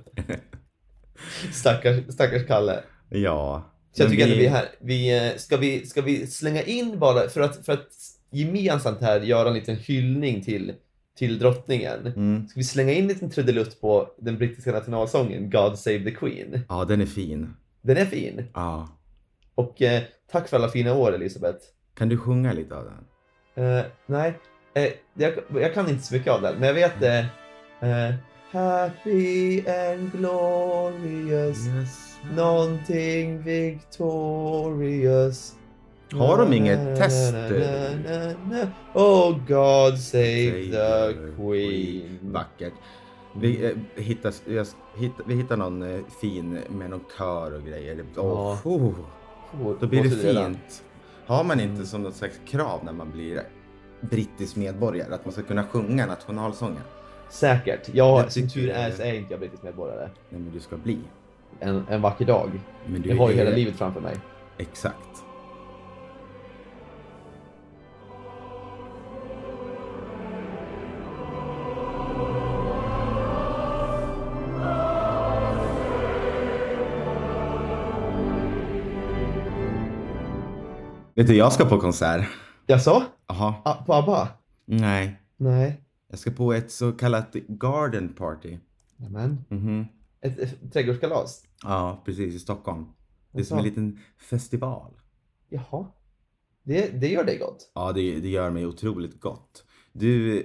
[SPEAKER 2] Stackars, stackars Kalle.
[SPEAKER 1] Ja.
[SPEAKER 2] Så jag
[SPEAKER 1] Men
[SPEAKER 2] tycker att vi är här. Vi, eh, ska, vi, ska vi slänga in bara, för att, för att gemensamt här göra en liten hyllning till, till drottningen.
[SPEAKER 1] Mm.
[SPEAKER 2] Ska vi slänga in en liten trudelutt på den brittiska nationalsången God Save the Queen?
[SPEAKER 1] Ja, den är fin.
[SPEAKER 2] Den är fin.
[SPEAKER 1] Ja.
[SPEAKER 2] Och eh, tack för alla fina år, Elisabeth.
[SPEAKER 1] Kan du sjunga lite av den?
[SPEAKER 2] Eh, nej, eh, jag, jag kan inte så mycket av den, men jag vet eh, eh, Happy and glorious,
[SPEAKER 1] Mm.
[SPEAKER 2] någonting victorious.
[SPEAKER 1] Har de inget test?
[SPEAKER 2] na. Oh God save
[SPEAKER 1] Save
[SPEAKER 2] the
[SPEAKER 1] the
[SPEAKER 2] Queen.
[SPEAKER 1] Vackert. Vi, eh, hittar, jag, hitt- vi hittar någon eh, fin med någon kör och grejer.
[SPEAKER 2] Ja.
[SPEAKER 1] Åh, oh,
[SPEAKER 2] Och-
[SPEAKER 1] då blir det
[SPEAKER 2] och så vidare.
[SPEAKER 1] fint. Har man inte som något slags krav när man blir brittisk medborgare att man ska kunna sjunga nationalsången?
[SPEAKER 2] Säkert. Ja,
[SPEAKER 1] Jag
[SPEAKER 2] som
[SPEAKER 1] tycker
[SPEAKER 2] tur
[SPEAKER 1] det.
[SPEAKER 2] är så är inte jag brittisk medborgare.
[SPEAKER 1] Nej, men du ska bli.
[SPEAKER 2] En, en vacker dag.
[SPEAKER 1] Men du
[SPEAKER 2] Jag har ju
[SPEAKER 1] är-
[SPEAKER 2] hela livet framför mig.
[SPEAKER 1] Exakt. Vet du, jag ska på konsert.
[SPEAKER 2] Jaså?
[SPEAKER 1] Jaha.
[SPEAKER 2] Ah, på ABBA?
[SPEAKER 1] Nej.
[SPEAKER 2] Nej.
[SPEAKER 1] Jag ska på ett så kallat garden party.
[SPEAKER 2] Nämen.
[SPEAKER 1] Mhm.
[SPEAKER 2] Ett, ett trädgårdskalas?
[SPEAKER 1] Ja, precis. I Stockholm. Det är som en
[SPEAKER 2] Jaså.
[SPEAKER 1] liten festival.
[SPEAKER 2] Jaha. Det, det gör dig gott.
[SPEAKER 1] Ja, det, det gör mig otroligt gott. Du eh,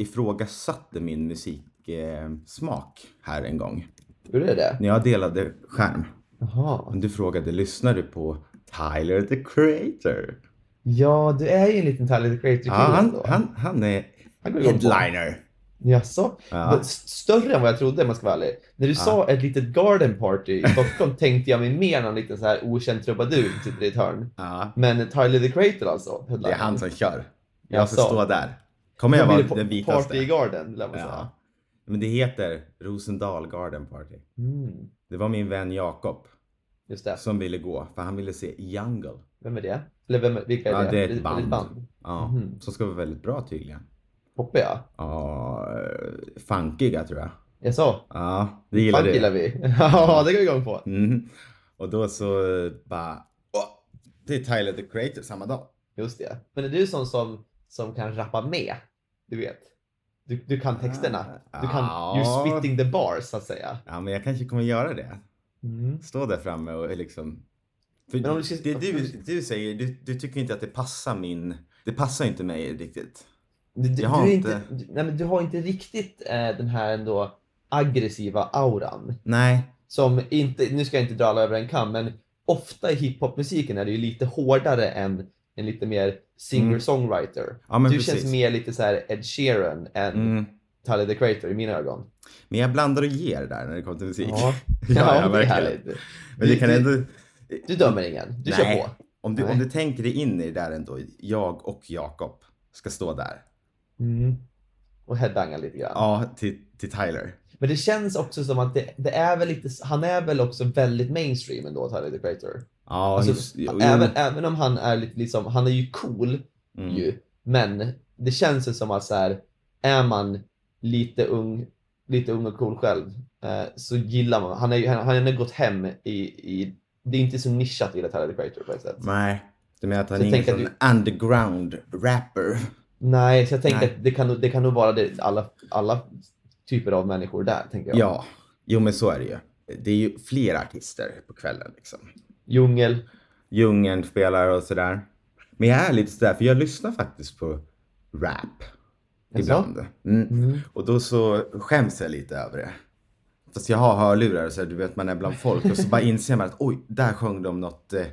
[SPEAKER 1] ifrågasatte min musiksmak eh, smak här en gång.
[SPEAKER 2] Gjorde det det?
[SPEAKER 1] När jag delade skärm.
[SPEAKER 2] Jaha.
[SPEAKER 1] Du frågade, lyssnar du på Tyler the Creator?
[SPEAKER 2] Ja, du är ju en liten Tyler the creator
[SPEAKER 1] Ja,
[SPEAKER 2] kille
[SPEAKER 1] han,
[SPEAKER 2] ändå.
[SPEAKER 1] han, han är
[SPEAKER 2] Han går igång på.
[SPEAKER 1] headliner.
[SPEAKER 2] Jaså?
[SPEAKER 1] Ja.
[SPEAKER 2] Men s- Större än vad jag trodde om jag ska vara ärlig. När du sa ett litet garden party i Stockholm tänkte jag mig mer någon liten så här okänd trubadur som sitter i ett hörn.
[SPEAKER 1] Ja,
[SPEAKER 2] Men Tyler the Creator alltså?
[SPEAKER 1] det är han som kör. Jag
[SPEAKER 2] Jaså.
[SPEAKER 1] ska stå där. Kommer jag
[SPEAKER 2] Då
[SPEAKER 1] vara
[SPEAKER 2] blir det
[SPEAKER 1] den
[SPEAKER 2] pa- Party i
[SPEAKER 1] vitaste?
[SPEAKER 2] garden, lär man säga.
[SPEAKER 1] Ja. Men det heter Rosendal Garden Party.
[SPEAKER 2] Mm,
[SPEAKER 1] Det var min vän Jakob
[SPEAKER 2] just det.
[SPEAKER 1] som ville gå, för han ville se Jungle.
[SPEAKER 2] Vem är det? Eller vem, vilka är
[SPEAKER 1] Ja, det är ett
[SPEAKER 2] Är
[SPEAKER 1] band.
[SPEAKER 2] band?
[SPEAKER 1] Ja,
[SPEAKER 2] Mhm.
[SPEAKER 1] Som ska vara väldigt bra tydligen.
[SPEAKER 2] Poppiga?
[SPEAKER 1] Ja, eh, funkiga tror jag.
[SPEAKER 2] Jaså?
[SPEAKER 1] Ja, det gillar
[SPEAKER 2] Funk
[SPEAKER 1] du.
[SPEAKER 2] gillar vi. Ja, det går vi igång på.
[SPEAKER 1] Mm. Och då så eh, bara, åh, det är Tyler the Creator samma dag.
[SPEAKER 2] Just det. Men är du sån som, som kan rappa med? Du vet. Du, du kan texterna. Du kan,
[SPEAKER 1] Ah. Ja.
[SPEAKER 2] you're spitting the bars så att säga.
[SPEAKER 1] Ja, men jag kanske kommer göra det. Stå där framme och liksom. För
[SPEAKER 2] Men om du ska-
[SPEAKER 1] det du, du säger, du, du tycker inte att det passar min, det passar inte mig riktigt.
[SPEAKER 2] Du, du,
[SPEAKER 1] Jag har
[SPEAKER 2] du, är
[SPEAKER 1] inte-
[SPEAKER 2] inte, du, nej, men du har inte riktigt eh, den här ändå aggressiva auran.
[SPEAKER 1] Nej,
[SPEAKER 2] Som inte, nu ska jag inte dra alla över en kam, men ofta i hiphopmusiken är det ju lite hårdare än en lite mer singer-songwriter.
[SPEAKER 1] ja men
[SPEAKER 2] du
[SPEAKER 1] precis.
[SPEAKER 2] känns mer lite så här Ed Sheeran än
[SPEAKER 1] Mm.
[SPEAKER 2] Tyler the Creator i mina ögon.
[SPEAKER 1] Men jag blandar och ger där när det kommer till musik.
[SPEAKER 2] Ja,
[SPEAKER 1] ja,
[SPEAKER 2] det är
[SPEAKER 1] verkligen.
[SPEAKER 2] härligt.
[SPEAKER 1] Men det kan
[SPEAKER 2] Du-
[SPEAKER 1] ändå,
[SPEAKER 2] Du dömer ingen, du
[SPEAKER 1] Nej.
[SPEAKER 2] kör på.
[SPEAKER 1] om du, om
[SPEAKER 2] Nej.
[SPEAKER 1] du tänker dig in i det där ändå, jag och Jakob ska stå där.
[SPEAKER 2] Och headbangar lite grann.
[SPEAKER 1] Mm. Ja, till, till Tyler.
[SPEAKER 2] Men det känns också som att det, det är väl lite, han är väl också väldigt mainstream ändå, Tyler the Creator.
[SPEAKER 1] Ja,
[SPEAKER 2] Alltså,
[SPEAKER 1] just, jo, jo,
[SPEAKER 2] Även, även om han är lite liksom, han är ju cool
[SPEAKER 1] mm.
[SPEAKER 2] ju, men det känns ju som att så här, är man lite ung, lite ung och cool själv eh, så gillar man, han är ju- han han har ändå gått hem i, i det är inte så nischat att gilla Tyler the Creator på ett sätt.
[SPEAKER 1] Nej, du menar att han
[SPEAKER 2] Så
[SPEAKER 1] är ingen
[SPEAKER 2] tänker
[SPEAKER 1] sån
[SPEAKER 2] du-
[SPEAKER 1] underground rapper?
[SPEAKER 2] Nej, så jag tänker
[SPEAKER 1] Nej.
[SPEAKER 2] att det kan, nog- det kan nog vara det, alla, alla typer av människor där, tänker
[SPEAKER 1] Ja.
[SPEAKER 2] jag.
[SPEAKER 1] jo men så är det ju. Det är ju flera artister på kvällen liksom.
[SPEAKER 2] Djungel.
[SPEAKER 1] Djungeln spelar och sådär. Men jag är lite sådär, för jag lyssnar faktiskt på rap
[SPEAKER 2] Jaså?
[SPEAKER 1] ibland. Mm. Och då så skäms jag lite över det. Fast jag har hörlurar så här, du vet man är bland folk och så bara inser man att oj, där sjöng de något eh,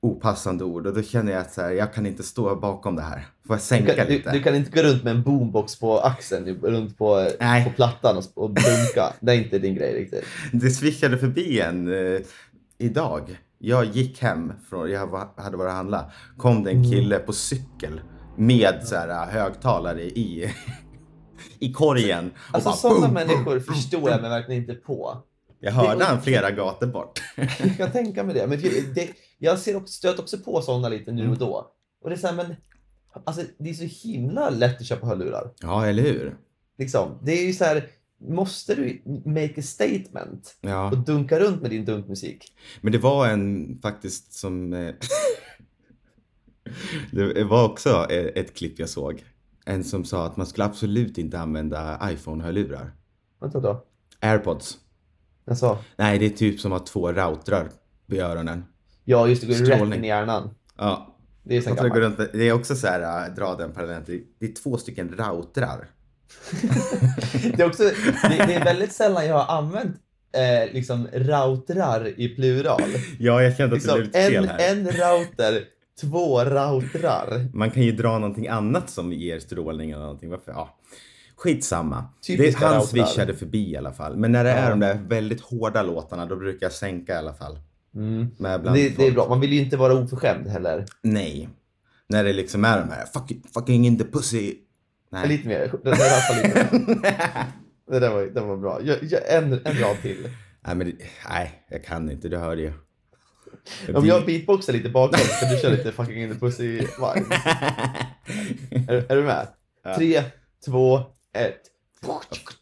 [SPEAKER 1] opassande ord och då känner jag att så här, jag kan inte stå bakom det här. Får jag sänka
[SPEAKER 2] Du kan, du,
[SPEAKER 1] lite?
[SPEAKER 2] du kan inte gå runt med en boombox på axeln, du- runt på,
[SPEAKER 1] Nej.
[SPEAKER 2] på plattan och, och dunka. Det är inte din grej riktigt.
[SPEAKER 1] Det svischade förbi en eh, idag. Jag gick hem, från, jag var, hade varit och handla. kom det en kille på cykel med så här, eh, högtalare i, i korgen. Och
[SPEAKER 2] Alltså
[SPEAKER 1] bara,
[SPEAKER 2] sådana
[SPEAKER 1] boom,
[SPEAKER 2] människor förstår jag mig verkligen inte på.
[SPEAKER 1] Jag hörde han flera gator bort.
[SPEAKER 2] Jag kan tänka mig det. Men det, det, jag ser också, stöter också på sådana lite nu
[SPEAKER 1] Mm.
[SPEAKER 2] och då. Och det är så här, men alltså, det är så himla lätt att köpa hörlurar.
[SPEAKER 1] Ja, eller hur?
[SPEAKER 2] Liksom. Det är ju så här, måste du make a statement
[SPEAKER 1] Ja.
[SPEAKER 2] och dunka runt med din dunkmusik?
[SPEAKER 1] Men det var en faktiskt som... eh, det var också eh, ett klipp jag såg. En som sa att man skulle absolut inte använda iPhone-hörlurar.
[SPEAKER 2] Vänta då.
[SPEAKER 1] Airpods.
[SPEAKER 2] Alltså,
[SPEAKER 1] Nej, det är typ som att ha två routrar vid öronen.
[SPEAKER 2] ja, just det, går rätt
[SPEAKER 1] Strålning.
[SPEAKER 2] in i hjärnan.
[SPEAKER 1] Ja.
[SPEAKER 2] Det är så
[SPEAKER 1] Jag tror jag
[SPEAKER 2] gammalt.
[SPEAKER 1] går runt, med- det är också så här, äh, dra den parallellen, till- det är två stycken routrar.
[SPEAKER 2] Det är, också, det, det är väldigt sällan jag har använt eh, liksom routrar i plural.
[SPEAKER 1] Ja, jag kände att det blev
[SPEAKER 2] Liksom,
[SPEAKER 1] lite fel
[SPEAKER 2] en,
[SPEAKER 1] här.
[SPEAKER 2] en router, två routrar.
[SPEAKER 1] Man kan ju dra någonting annat som ger strålning eller någonting. Varför? Ja. Skitsamma. Det,
[SPEAKER 2] Typiska
[SPEAKER 1] han
[SPEAKER 2] routrar.
[SPEAKER 1] swishade förbi i alla fall. Men när det
[SPEAKER 2] Ja.
[SPEAKER 1] är de där väldigt hårda låtarna då brukar jag sänka i alla fall.
[SPEAKER 2] Mm.
[SPEAKER 1] Med bland
[SPEAKER 2] Det, det är
[SPEAKER 1] folk.
[SPEAKER 2] bra, man vill ju inte vara oförskämd heller.
[SPEAKER 1] Nej. När det liksom är de här fucking, fucking in the pussy. Nej.
[SPEAKER 2] Lite mer, den där rappar lite. Det där var, den var bra. Jag, jag, en, en rad till.
[SPEAKER 1] nej, men det, nej, jag kan inte. Du hörde ju.
[SPEAKER 2] Om jag beatboxar lite bakom så du kör lite fucking in the pussy vibes. Är, är du med?
[SPEAKER 1] Ja.
[SPEAKER 2] Tre, två, ett.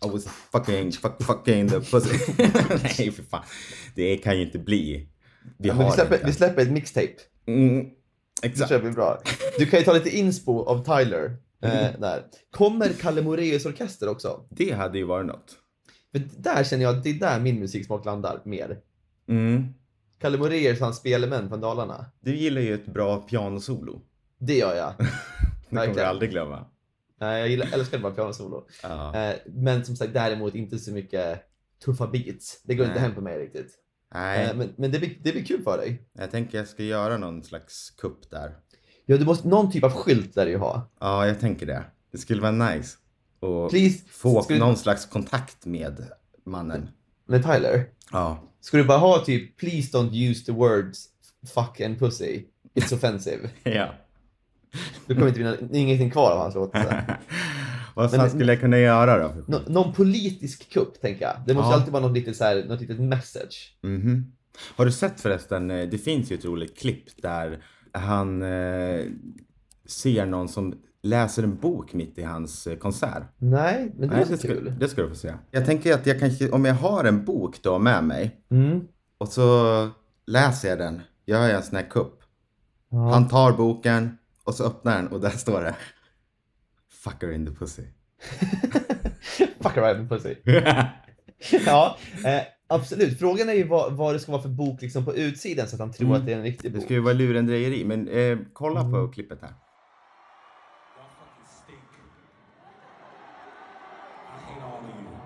[SPEAKER 1] I was fucking, fuck, fucking the pussy. Nej, för fan. Det kan ju inte bli. Vi
[SPEAKER 2] Men vi,
[SPEAKER 1] har
[SPEAKER 2] släpper,
[SPEAKER 1] inte.
[SPEAKER 2] vi släpper ett mixtape.
[SPEAKER 1] Mm,
[SPEAKER 2] Så
[SPEAKER 1] exakt.
[SPEAKER 2] kör vi bra. Du kan ju ta lite inspo av Tyler.
[SPEAKER 1] Mm.
[SPEAKER 2] Eh, där. Kommer Kalle Moraeus orkester också?
[SPEAKER 1] Det hade ju varit något.
[SPEAKER 2] För där känner jag att det är där min musiksmak landar mer.
[SPEAKER 1] Mm.
[SPEAKER 2] Kalle Moraeus och hans spelemän från Dalarna.
[SPEAKER 1] Du gillar ju ett bra pianosolo.
[SPEAKER 2] Det gör jag.
[SPEAKER 1] Det kommer jag
[SPEAKER 2] Verkligen.
[SPEAKER 1] aldrig glömma.
[SPEAKER 2] Nej, jag gillar, älskar bara pianosolo.
[SPEAKER 1] Ja.
[SPEAKER 2] Eh, Men som sagt däremot inte så mycket tuffa beats. Det går
[SPEAKER 1] Nej.
[SPEAKER 2] inte hem på mig riktigt.
[SPEAKER 1] Nej,
[SPEAKER 2] Eh, Men, men det, blir, det blir kul för dig.
[SPEAKER 1] jag tänker jag ska göra någon slags kupp där.
[SPEAKER 2] Ja, du måste, någon typ av skylt där du ha.
[SPEAKER 1] Ja, jag tänker det. Det skulle vara nice. Och
[SPEAKER 2] Please,
[SPEAKER 1] få
[SPEAKER 2] skulle- Mm.
[SPEAKER 1] någon slags kontakt med mannen.
[SPEAKER 2] med Tyler.
[SPEAKER 1] Ja.
[SPEAKER 2] Ska du bara ha typ “Please don't use the words fuck and pussy, it's offensive”.
[SPEAKER 1] ja.
[SPEAKER 2] Du kommer inte vinna ingenting kvar av hans låtar.
[SPEAKER 1] Vad
[SPEAKER 2] Men-
[SPEAKER 1] fan skulle jag kunna göra då?
[SPEAKER 2] Nå, någon politisk kupp, tänker jag. Det måste
[SPEAKER 1] Ja.
[SPEAKER 2] alltid vara något litet, så här, något litet message.
[SPEAKER 1] Mhm. Har du sett förresten, eh, det finns ju ett roligt klipp där han eh, ser någon som läser en bok mitt i hans eh, konsert.
[SPEAKER 2] Nej, men det
[SPEAKER 1] Nej,
[SPEAKER 2] är
[SPEAKER 1] det,
[SPEAKER 2] så
[SPEAKER 1] ska,
[SPEAKER 2] kul.
[SPEAKER 1] det ska du få se. Jag tänker att jag kanske, om jag har en bok då med mig
[SPEAKER 2] Mm.
[SPEAKER 1] och så läser jag den, gör jag en sån här kupp.
[SPEAKER 2] Ja.
[SPEAKER 1] Han tar boken och så öppnar den och där står det Fucker in the pussy.
[SPEAKER 2] fuck around and pussy. Ja, eh, absolut. Frågan är ju vad, vad det ska vara för bok liksom på utsidan så att han tror
[SPEAKER 1] Mm.
[SPEAKER 2] att det är en riktig
[SPEAKER 1] det
[SPEAKER 2] bok.
[SPEAKER 1] ska ju vara lurendrejeri, men eh, kolla på
[SPEAKER 2] Mm.
[SPEAKER 1] klippet här.
[SPEAKER 3] Y'all fucking stink. I hate all of you.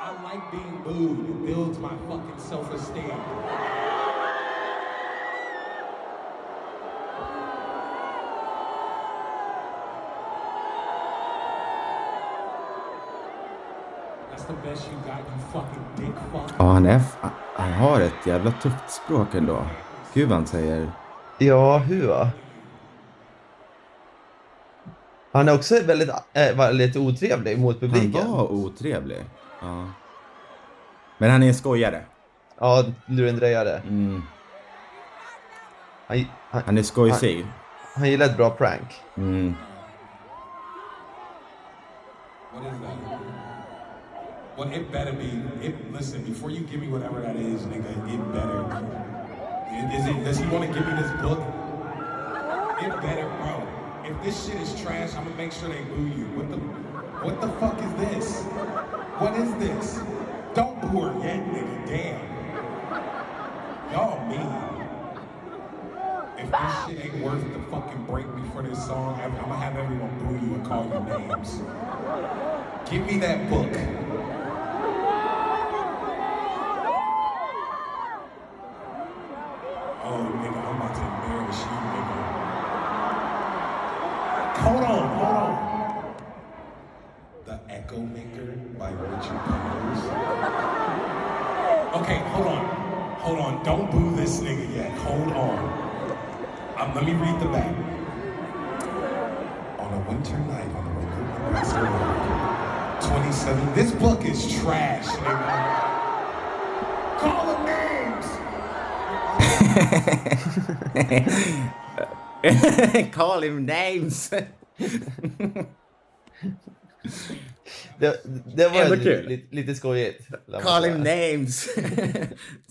[SPEAKER 3] I like being booed. It builds my fucking self-esteem. That's the best you got, you fucking dick fuck.
[SPEAKER 1] Ja, han, är, f- han har ett jävla tufft språk ändå. Gud vad han säger.
[SPEAKER 2] Ja, hur va? Han är också väldigt, eh, väldigt otrevlig mot
[SPEAKER 1] Han
[SPEAKER 2] publiken.
[SPEAKER 1] var otrevlig. Ja. Men han är en skojare.
[SPEAKER 2] Ja, lurendrejare.
[SPEAKER 1] Mm.
[SPEAKER 2] Han, han,
[SPEAKER 1] Han är skojsig.
[SPEAKER 2] han gillar ett bra prank.
[SPEAKER 1] Mm.
[SPEAKER 3] What is that? Well, it better be. It listen before you give me whatever that is, nigga. It better. It- Is it? Does he want to give me this book? It better, bro. If this shit is trash, I'm gonna make sure they boo you. What the? What the fuck is this? What is this? Don't boo her yet, nigga. Damn. Y'all mean. If this shit ain't worth the fucking break before this song. I'm, I'm gonna have everyone boo you and call you names. Give me that book. Oh, nigga, I'm about to embarrass you, nigga. Hold on, hold on. The Echo Maker by Richard Powers. Okay, hold on. Hold on. Don't boo this nigga yet. Hold on. Um, let me read the back. On a winter night on the remote Nebraska road, 27. This book is trash, nigga. Call them names.
[SPEAKER 1] Call him names.
[SPEAKER 2] Det, det var
[SPEAKER 1] Ändå
[SPEAKER 2] lite,
[SPEAKER 1] kul.
[SPEAKER 2] lite, lite skojigt. lär man
[SPEAKER 1] Call
[SPEAKER 2] säga.
[SPEAKER 1] him names.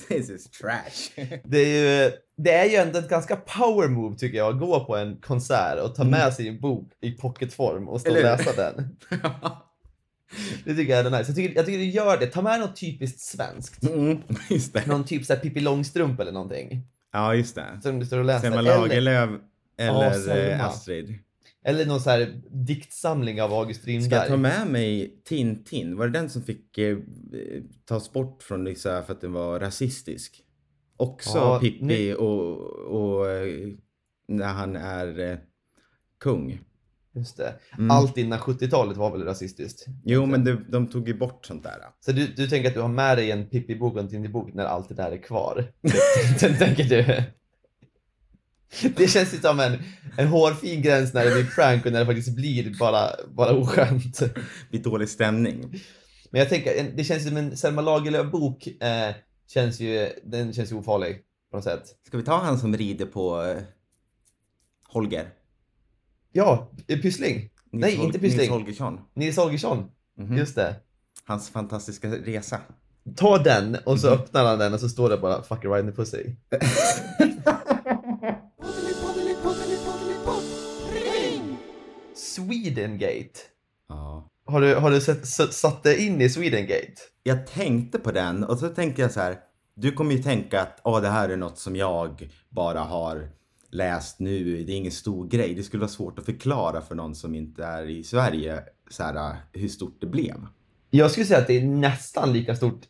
[SPEAKER 1] This is trash.
[SPEAKER 2] Det är, ju, det är ju ändå ett ganska power move tycker jag, att gå på en konsert och ta med sig en bok i pocketform och stå och
[SPEAKER 1] Mm. Eller hur?
[SPEAKER 2] läsa den. Det tycker jag är nice. Jag tycker, jag tycker du gör det. Ta med något typiskt svenskt.
[SPEAKER 1] Mm, just det.
[SPEAKER 2] Någon typ såhär Pippi Långstrump eller någonting.
[SPEAKER 1] Ja, just det.
[SPEAKER 2] Som du står och läser.
[SPEAKER 1] Selma
[SPEAKER 2] Eller,
[SPEAKER 1] Lagerlöf eller
[SPEAKER 2] Selma.
[SPEAKER 1] eh, Astrid.
[SPEAKER 2] eller någon så här diktsamling av August
[SPEAKER 1] Ska jag ta
[SPEAKER 2] Strindberg.
[SPEAKER 1] med mig Tintin? Var det den som fick eh, tas bort från Lisa för att den var rasistisk? Också
[SPEAKER 2] Ja,
[SPEAKER 1] Pippi
[SPEAKER 2] ni-
[SPEAKER 1] och, och eh, när han är eh, kung.
[SPEAKER 2] Just det.
[SPEAKER 1] Mm.
[SPEAKER 2] Allt innan 70-talet var väl rasistiskt?
[SPEAKER 1] Jo, men de, de tog ju bort sånt där.
[SPEAKER 2] Så du, du tänker att du har med dig en Pippi-bok och en Tintin-bok när allt det där är kvar? Sen tänker du... Det känns ju som en, en hårfin gräns när det blir prank och när det faktiskt blir bara, bara oskönt.
[SPEAKER 1] Vid dålig stämning.
[SPEAKER 2] Men jag tänker, en- det känns ju som en Selma Lagerlöf-bok, eh, känns ju, den känns ju ofarlig på något sätt.
[SPEAKER 1] Ska vi ta han som rider på eh, Holger?
[SPEAKER 2] Ja, eh, Pyssling!
[SPEAKER 1] Nils
[SPEAKER 2] Nej, inte Pyssling.
[SPEAKER 1] Nils Holgersson.
[SPEAKER 2] Nils Holgersson,
[SPEAKER 1] Mhm.
[SPEAKER 2] just det.
[SPEAKER 1] Hans fantastiska resa.
[SPEAKER 2] Ta den och så öppnar han den och så står det bara “Fuck a ride in the pussy”. Swedengate.
[SPEAKER 1] Ja.
[SPEAKER 2] Har du, har du sett, s- satt dig in i Swedengate?
[SPEAKER 1] Jag tänkte på den och så tänkte jag så här. Du kommer ju tänka att ah det här är något som jag bara har läst nu. Det är ingen stor grej. Det skulle vara svårt att förklara för någon som inte är i Sverige så här, hur stort det blev.
[SPEAKER 2] Jag skulle säga att det är nästan lika stort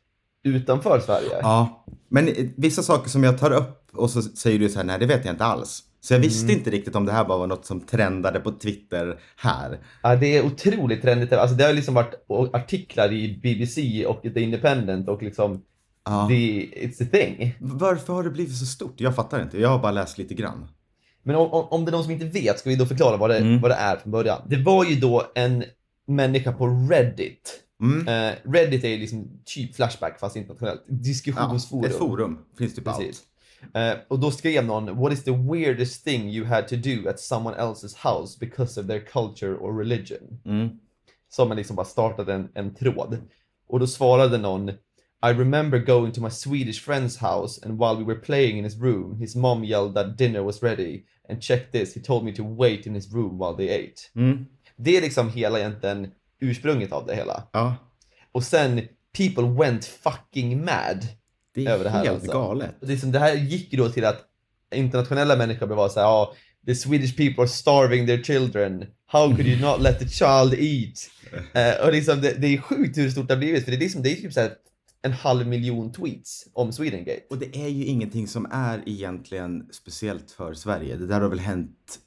[SPEAKER 2] utanför Sverige.
[SPEAKER 1] Ja, men eh, vissa saker som jag tar upp och så säger du så här, nej det vet jag inte alls. Så jag visste
[SPEAKER 2] Mm.
[SPEAKER 1] inte riktigt om det här bara var något som trendade på Twitter här.
[SPEAKER 2] Ja, det är otroligt trendigt. Alltså, det har liksom varit o- artiklar i BBC och The Independent och liksom
[SPEAKER 1] Ja.
[SPEAKER 2] the, it's a thing.
[SPEAKER 1] Varför har det blivit så stort? Jag fattar inte. Jag har bara läst lite grann.
[SPEAKER 2] Men om, om, om det är någon som inte vet ska vi då förklara vad det,
[SPEAKER 1] Mm.
[SPEAKER 2] vad det är från början. Det var ju då en människa på Reddit.
[SPEAKER 1] Mm.
[SPEAKER 2] Eh, Reddit är ju liksom typ Flashback fast internationellt.
[SPEAKER 1] Ja,
[SPEAKER 2] Diskussionsforum.
[SPEAKER 1] ett forum finns det på
[SPEAKER 2] Precis.
[SPEAKER 1] allt.
[SPEAKER 2] Eh, och då skrev någon “What is the weirdest thing you had to do at someone else's house because of their culture or religion?”
[SPEAKER 1] Mm.
[SPEAKER 2] Som man liksom bara startade en, en tråd. Och då svarade någon “I remember going to my Swedish friend's house and while we were playing in his room his mom yelled that dinner was ready and check this, he told me to wait in his room while they ate”.
[SPEAKER 1] Mm.
[SPEAKER 2] Det är liksom hela egentligen ursprunget av det hela.
[SPEAKER 1] Ja,
[SPEAKER 2] Och sen “People went fucking mad”
[SPEAKER 1] det är
[SPEAKER 2] Över det här
[SPEAKER 1] helt
[SPEAKER 2] alltså.
[SPEAKER 1] galet.
[SPEAKER 2] Och liksom, det här gick ju då till att internationella människor blev vara så här, ja, the Swedish people are starving their children. How could you not let the child eat? Eh, och liksom, det, det är sjukt hur stort det har blivit, för det är, liksom, det är typ så här en halv miljon tweets om Swedengate.
[SPEAKER 1] Och det är ju ingenting som är egentligen speciellt för Sverige. Det där har väl hänt...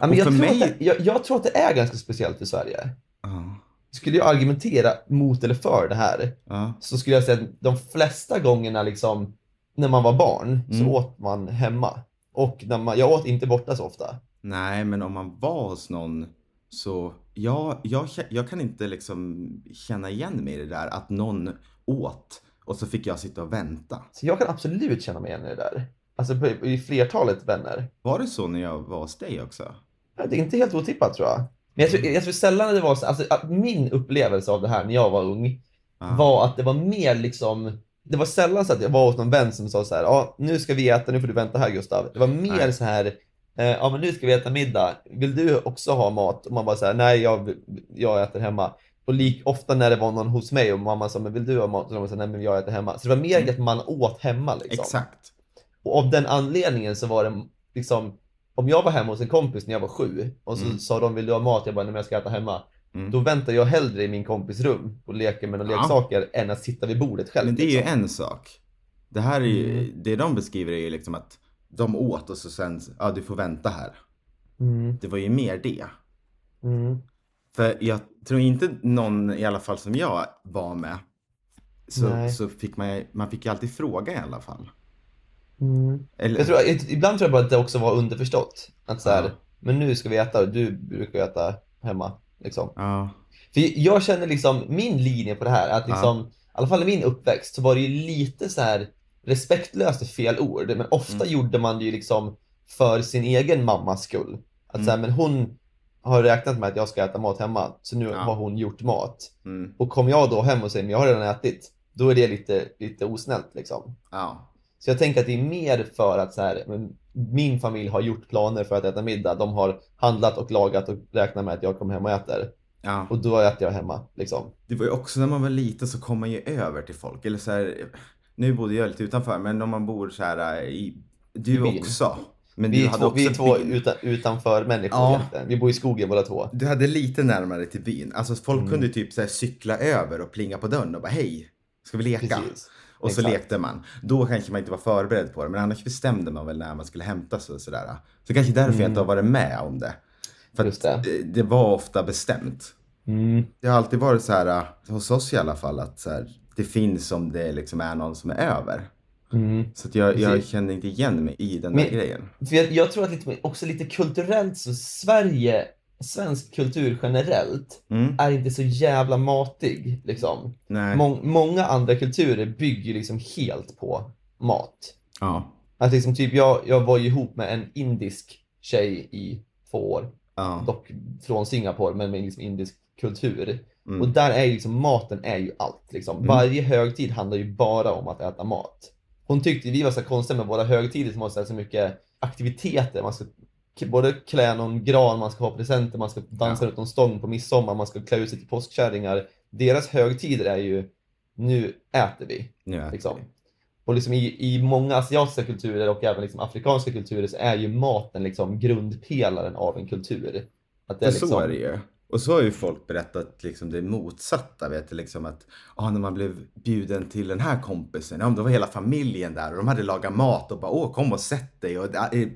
[SPEAKER 2] Ja, men
[SPEAKER 1] Och
[SPEAKER 2] jag,
[SPEAKER 1] för
[SPEAKER 2] tror att
[SPEAKER 1] mig-
[SPEAKER 2] det, jag, jag tror att det är ganska speciellt för Sverige.
[SPEAKER 1] Ja.
[SPEAKER 2] Skulle jag argumentera mot eller för det här
[SPEAKER 1] Ja.
[SPEAKER 2] så skulle jag säga att de flesta gångerna liksom, när man var barn så
[SPEAKER 1] Mm.
[SPEAKER 2] åt man hemma. Och när man, jag åt inte borta så ofta.
[SPEAKER 1] Nej, men om man var hos någon så... Ja, jag, kä- jag kan inte liksom känna igen mig i det där att någon åt och så fick jag sitta och vänta.
[SPEAKER 2] Så jag kan absolut känna mig igen i det där. Alltså på- i flertalet vänner.
[SPEAKER 1] Var det så när jag var hos dig också?
[SPEAKER 2] Ja, Det är inte helt otippat tror jag. Men jag tror, jag tror sällan det var så, alltså att min upplevelse av det här när jag var ung
[SPEAKER 1] Ja.
[SPEAKER 2] var att det var mer liksom, det var sällan så att jag var hos någon vän som sa så här, ja nu ska vi äta, nu får du vänta här Gustav. Det var mer
[SPEAKER 1] Nej.
[SPEAKER 2] så här, eh, ja men nu ska vi äta middag, vill du också ha mat? Och man bara så här, nej jag, jag äter hemma. Och lik, ofta när det var någon hos mig och mamma sa, men vill du ha mat? Och de sa, nej men jag äter hemma. Så det var mer
[SPEAKER 1] Mm.
[SPEAKER 2] att man åt hemma liksom.
[SPEAKER 1] Exakt.
[SPEAKER 2] Och av den anledningen så var det liksom, om jag var hemma hos en kompis när jag var sju och så
[SPEAKER 1] Mm.
[SPEAKER 2] sa de vill du ha mat? Jag bara, nej men jag ska äta hemma.
[SPEAKER 1] Mm.
[SPEAKER 2] Då väntar jag hellre i min kompis rum och leker med några
[SPEAKER 1] Ja.
[SPEAKER 2] leksaker än att sitta vid bordet själv.
[SPEAKER 1] Men det är ju
[SPEAKER 2] liksom.
[SPEAKER 1] en sak. Det här är ju,
[SPEAKER 2] Mm.
[SPEAKER 1] det de beskriver är ju liksom att de åt och så sen, ja du får vänta här.
[SPEAKER 2] mm,
[SPEAKER 1] Det var ju mer det.
[SPEAKER 2] mm,
[SPEAKER 1] För jag tror inte någon, i alla fall som jag var med, så,
[SPEAKER 2] Nej.
[SPEAKER 1] så fick man, man fick ju alltid fråga i alla fall.
[SPEAKER 2] mm.
[SPEAKER 1] Eller,
[SPEAKER 2] Jag tror, ibland tror jag bara att det också var underförstått. Att så här,
[SPEAKER 1] Ja.
[SPEAKER 2] men nu ska vi äta och du brukar ju äta hemma. Liksom.
[SPEAKER 1] Ja.
[SPEAKER 2] För jag känner liksom, min linje på det här, är att
[SPEAKER 1] Ja.
[SPEAKER 2] liksom, i alla fall i min uppväxt så var det ju lite så här respektlöst är fel ord, men ofta
[SPEAKER 1] Mm.
[SPEAKER 2] gjorde man det ju liksom för sin egen mammas skull. Att så här,
[SPEAKER 1] Mm.
[SPEAKER 2] men hon har räknat med att jag ska äta mat hemma, så nu
[SPEAKER 1] Ja.
[SPEAKER 2] har hon gjort mat.
[SPEAKER 1] Mm.
[SPEAKER 2] Och kommer jag då hem och säger, men jag har redan ätit, då är det lite, lite osnällt liksom.
[SPEAKER 1] Ja.
[SPEAKER 2] Så jag tänker att det är mer för att så här, men min familj har gjort planer för att äta middag. De har handlat och lagat och räknat med att jag kommer hem och äter.
[SPEAKER 1] Ja.
[SPEAKER 2] Och då äter jag hemma liksom.
[SPEAKER 1] Det var ju också när man var liten så kom man ju över till folk. Eller så här, nu bodde jag lite utanför, men om man bor så här äh, i, du
[SPEAKER 2] I byn.
[SPEAKER 1] också. Men
[SPEAKER 2] Vi
[SPEAKER 1] du
[SPEAKER 2] är
[SPEAKER 1] hade
[SPEAKER 2] två,
[SPEAKER 1] också
[SPEAKER 2] vi är två
[SPEAKER 1] byn.
[SPEAKER 2] utan, utanför människor
[SPEAKER 1] Ja.
[SPEAKER 2] egentligen. Vi bor i skogen båda två.
[SPEAKER 1] Du hade lite närmare till byn. Alltså folk
[SPEAKER 2] Mm.
[SPEAKER 1] kunde typ så här cykla över och plinga på dörren och bara hej, ska vi leka?
[SPEAKER 2] Precis.
[SPEAKER 1] Och så
[SPEAKER 2] exakt.
[SPEAKER 1] lekte man. Då kanske man inte var förberedd på det, men annars bestämde man väl när man skulle hämtas och sådär. Så kanske därför jag
[SPEAKER 2] Mm.
[SPEAKER 1] inte har varit med om det. För
[SPEAKER 2] Just
[SPEAKER 1] att det. det var ofta bestämt.
[SPEAKER 2] Mm.
[SPEAKER 1] Det har alltid varit så här, eh, hos oss i alla fall, att så här, det finns om det liksom är någon som är över.
[SPEAKER 2] Mm.
[SPEAKER 1] Så att jag, jag
[SPEAKER 2] Precis.
[SPEAKER 1] kände inte igen mig i den där
[SPEAKER 2] Men-
[SPEAKER 1] grejen.
[SPEAKER 2] För jag, jag tror att lite, också lite kulturellt så Sverige, svensk kultur generellt,
[SPEAKER 1] Mm.
[SPEAKER 2] är inte så jävla matig. Liksom.
[SPEAKER 1] Nej.
[SPEAKER 2] Mång, många andra kulturer bygger ju liksom helt på mat.
[SPEAKER 1] ja.
[SPEAKER 2] Att liksom typ jag, jag var ju ihop med en indisk tjej i två år,
[SPEAKER 1] Ja.
[SPEAKER 2] dock från Singapore, men med liksom indisk kultur. Och
[SPEAKER 1] Mm.
[SPEAKER 2] där är ju liksom maten är ju allt. Liksom.
[SPEAKER 1] Mm.
[SPEAKER 2] Varje högtid handlar ju bara om att äta mat. Hon tyckte vi var så konstiga med våra högtider som har så, här så mycket aktiviteter. Man ska k- både klä någon gran, man ska ha presenter, man ska dansa runt någon stång på midsommar, man ska klä ut sig till påskkärringar. Deras högtider är ju nu äter vi.
[SPEAKER 1] Nu är
[SPEAKER 2] Liksom. Och liksom i, i många asiatiska kulturer och även liksom afrikanska kulturer så är ju maten liksom grundpelaren av en kultur. Att det
[SPEAKER 1] Men
[SPEAKER 2] är liksom-
[SPEAKER 1] så är det ju. Och så har ju folk berättat liksom det motsatta. Vet du, liksom att ah, när man blev bjuden till den här kompisen, ja, men då var hela familjen där och de hade lagat mat och bara åh kom och sätt dig. Och, det- eh,